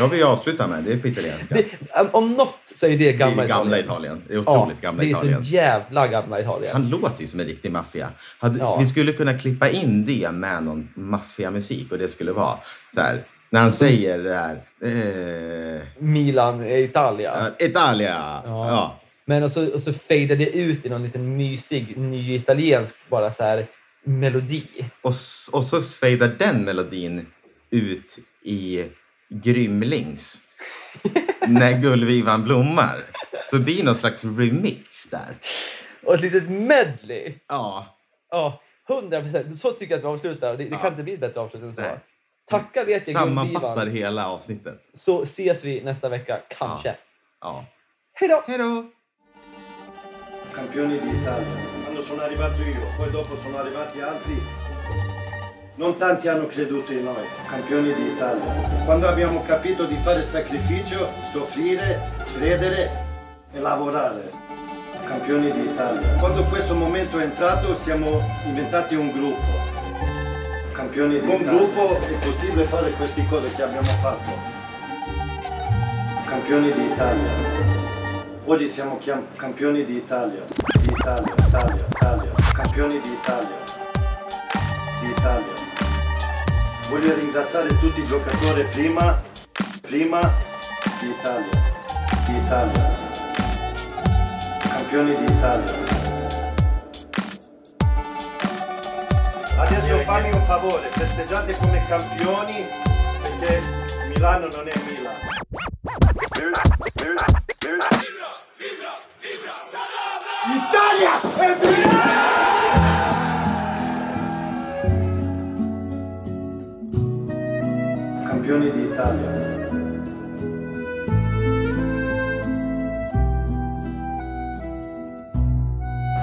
S1: Jag vill avsluta med. Det är på italienska. Det
S7: Det, om- om något så är det
S1: är
S7: gamla
S1: gamla, gamla Italien. Det är otroligt gamla
S7: det är
S1: Italien.
S7: så jävla gamla Italien.
S1: Han låter ju som en riktig maffia. Hade-
S7: Ja.
S1: Vi skulle kunna klippa in det med någon maffiamusik och det skulle vara så här. När han säger det här. Eh,
S7: Milan är Italia.
S1: Italia!
S7: Ja.
S1: Ja.
S7: Men och så, och så fejdade det ut i någon liten mysig ny italiensk bara så här melodi.
S1: Och, s- och så fejdar den melodin ut i Grymlings. när gullvivan blommar. Så det blir någon slags remix där.
S7: Och ett litet medley.
S1: Ja.
S7: Ja, 100 procent. Så tycker jag att vi avslutar. Det, det
S1: Ja.
S7: kan inte bli ett bättre avslut än så.
S1: Nej.
S7: Tacka vet jag
S1: Sammanfattar
S7: guldgivan.
S1: hela avsnittet.
S7: Så ses vi nästa vecka, kanske.
S1: Ja.
S7: Hej då!
S1: Hej då!
S8: campioni d'Italia. Quando sono arrivato io, poi dopo sono arrivati altri, non tanti hanno creduto in noi, campioni d'Italia. Quando abbiamo capito di fare sacrificio, soffrire, credere e lavorare, campioni d'Italia. Quando questo momento è entrato siamo diventati un gruppo. Campioni Con gruppo è possibile fare queste cose che abbiamo fatto. Campioni d'Italia. Oggi siamo chiam- campioni d'Italia, d'Italia, Italia, Italia, campioni d'Italia, d'Italia. Voglio ringraziare tutti i giocatori prima, prima d'Italia, d'Italia, campioni d'Italia. Adesso fammi un favore, festeggiate come campioni perché Milano non è Milano. Italia è prima! Campioni d'Italia.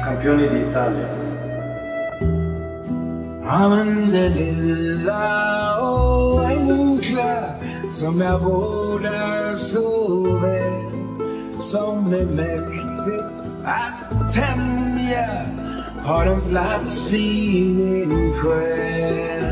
S8: Campioni d'Italia.
S9: الحمد لله onklar som jag vårdar så väl som är mäktigt att tämja har en plats i min själ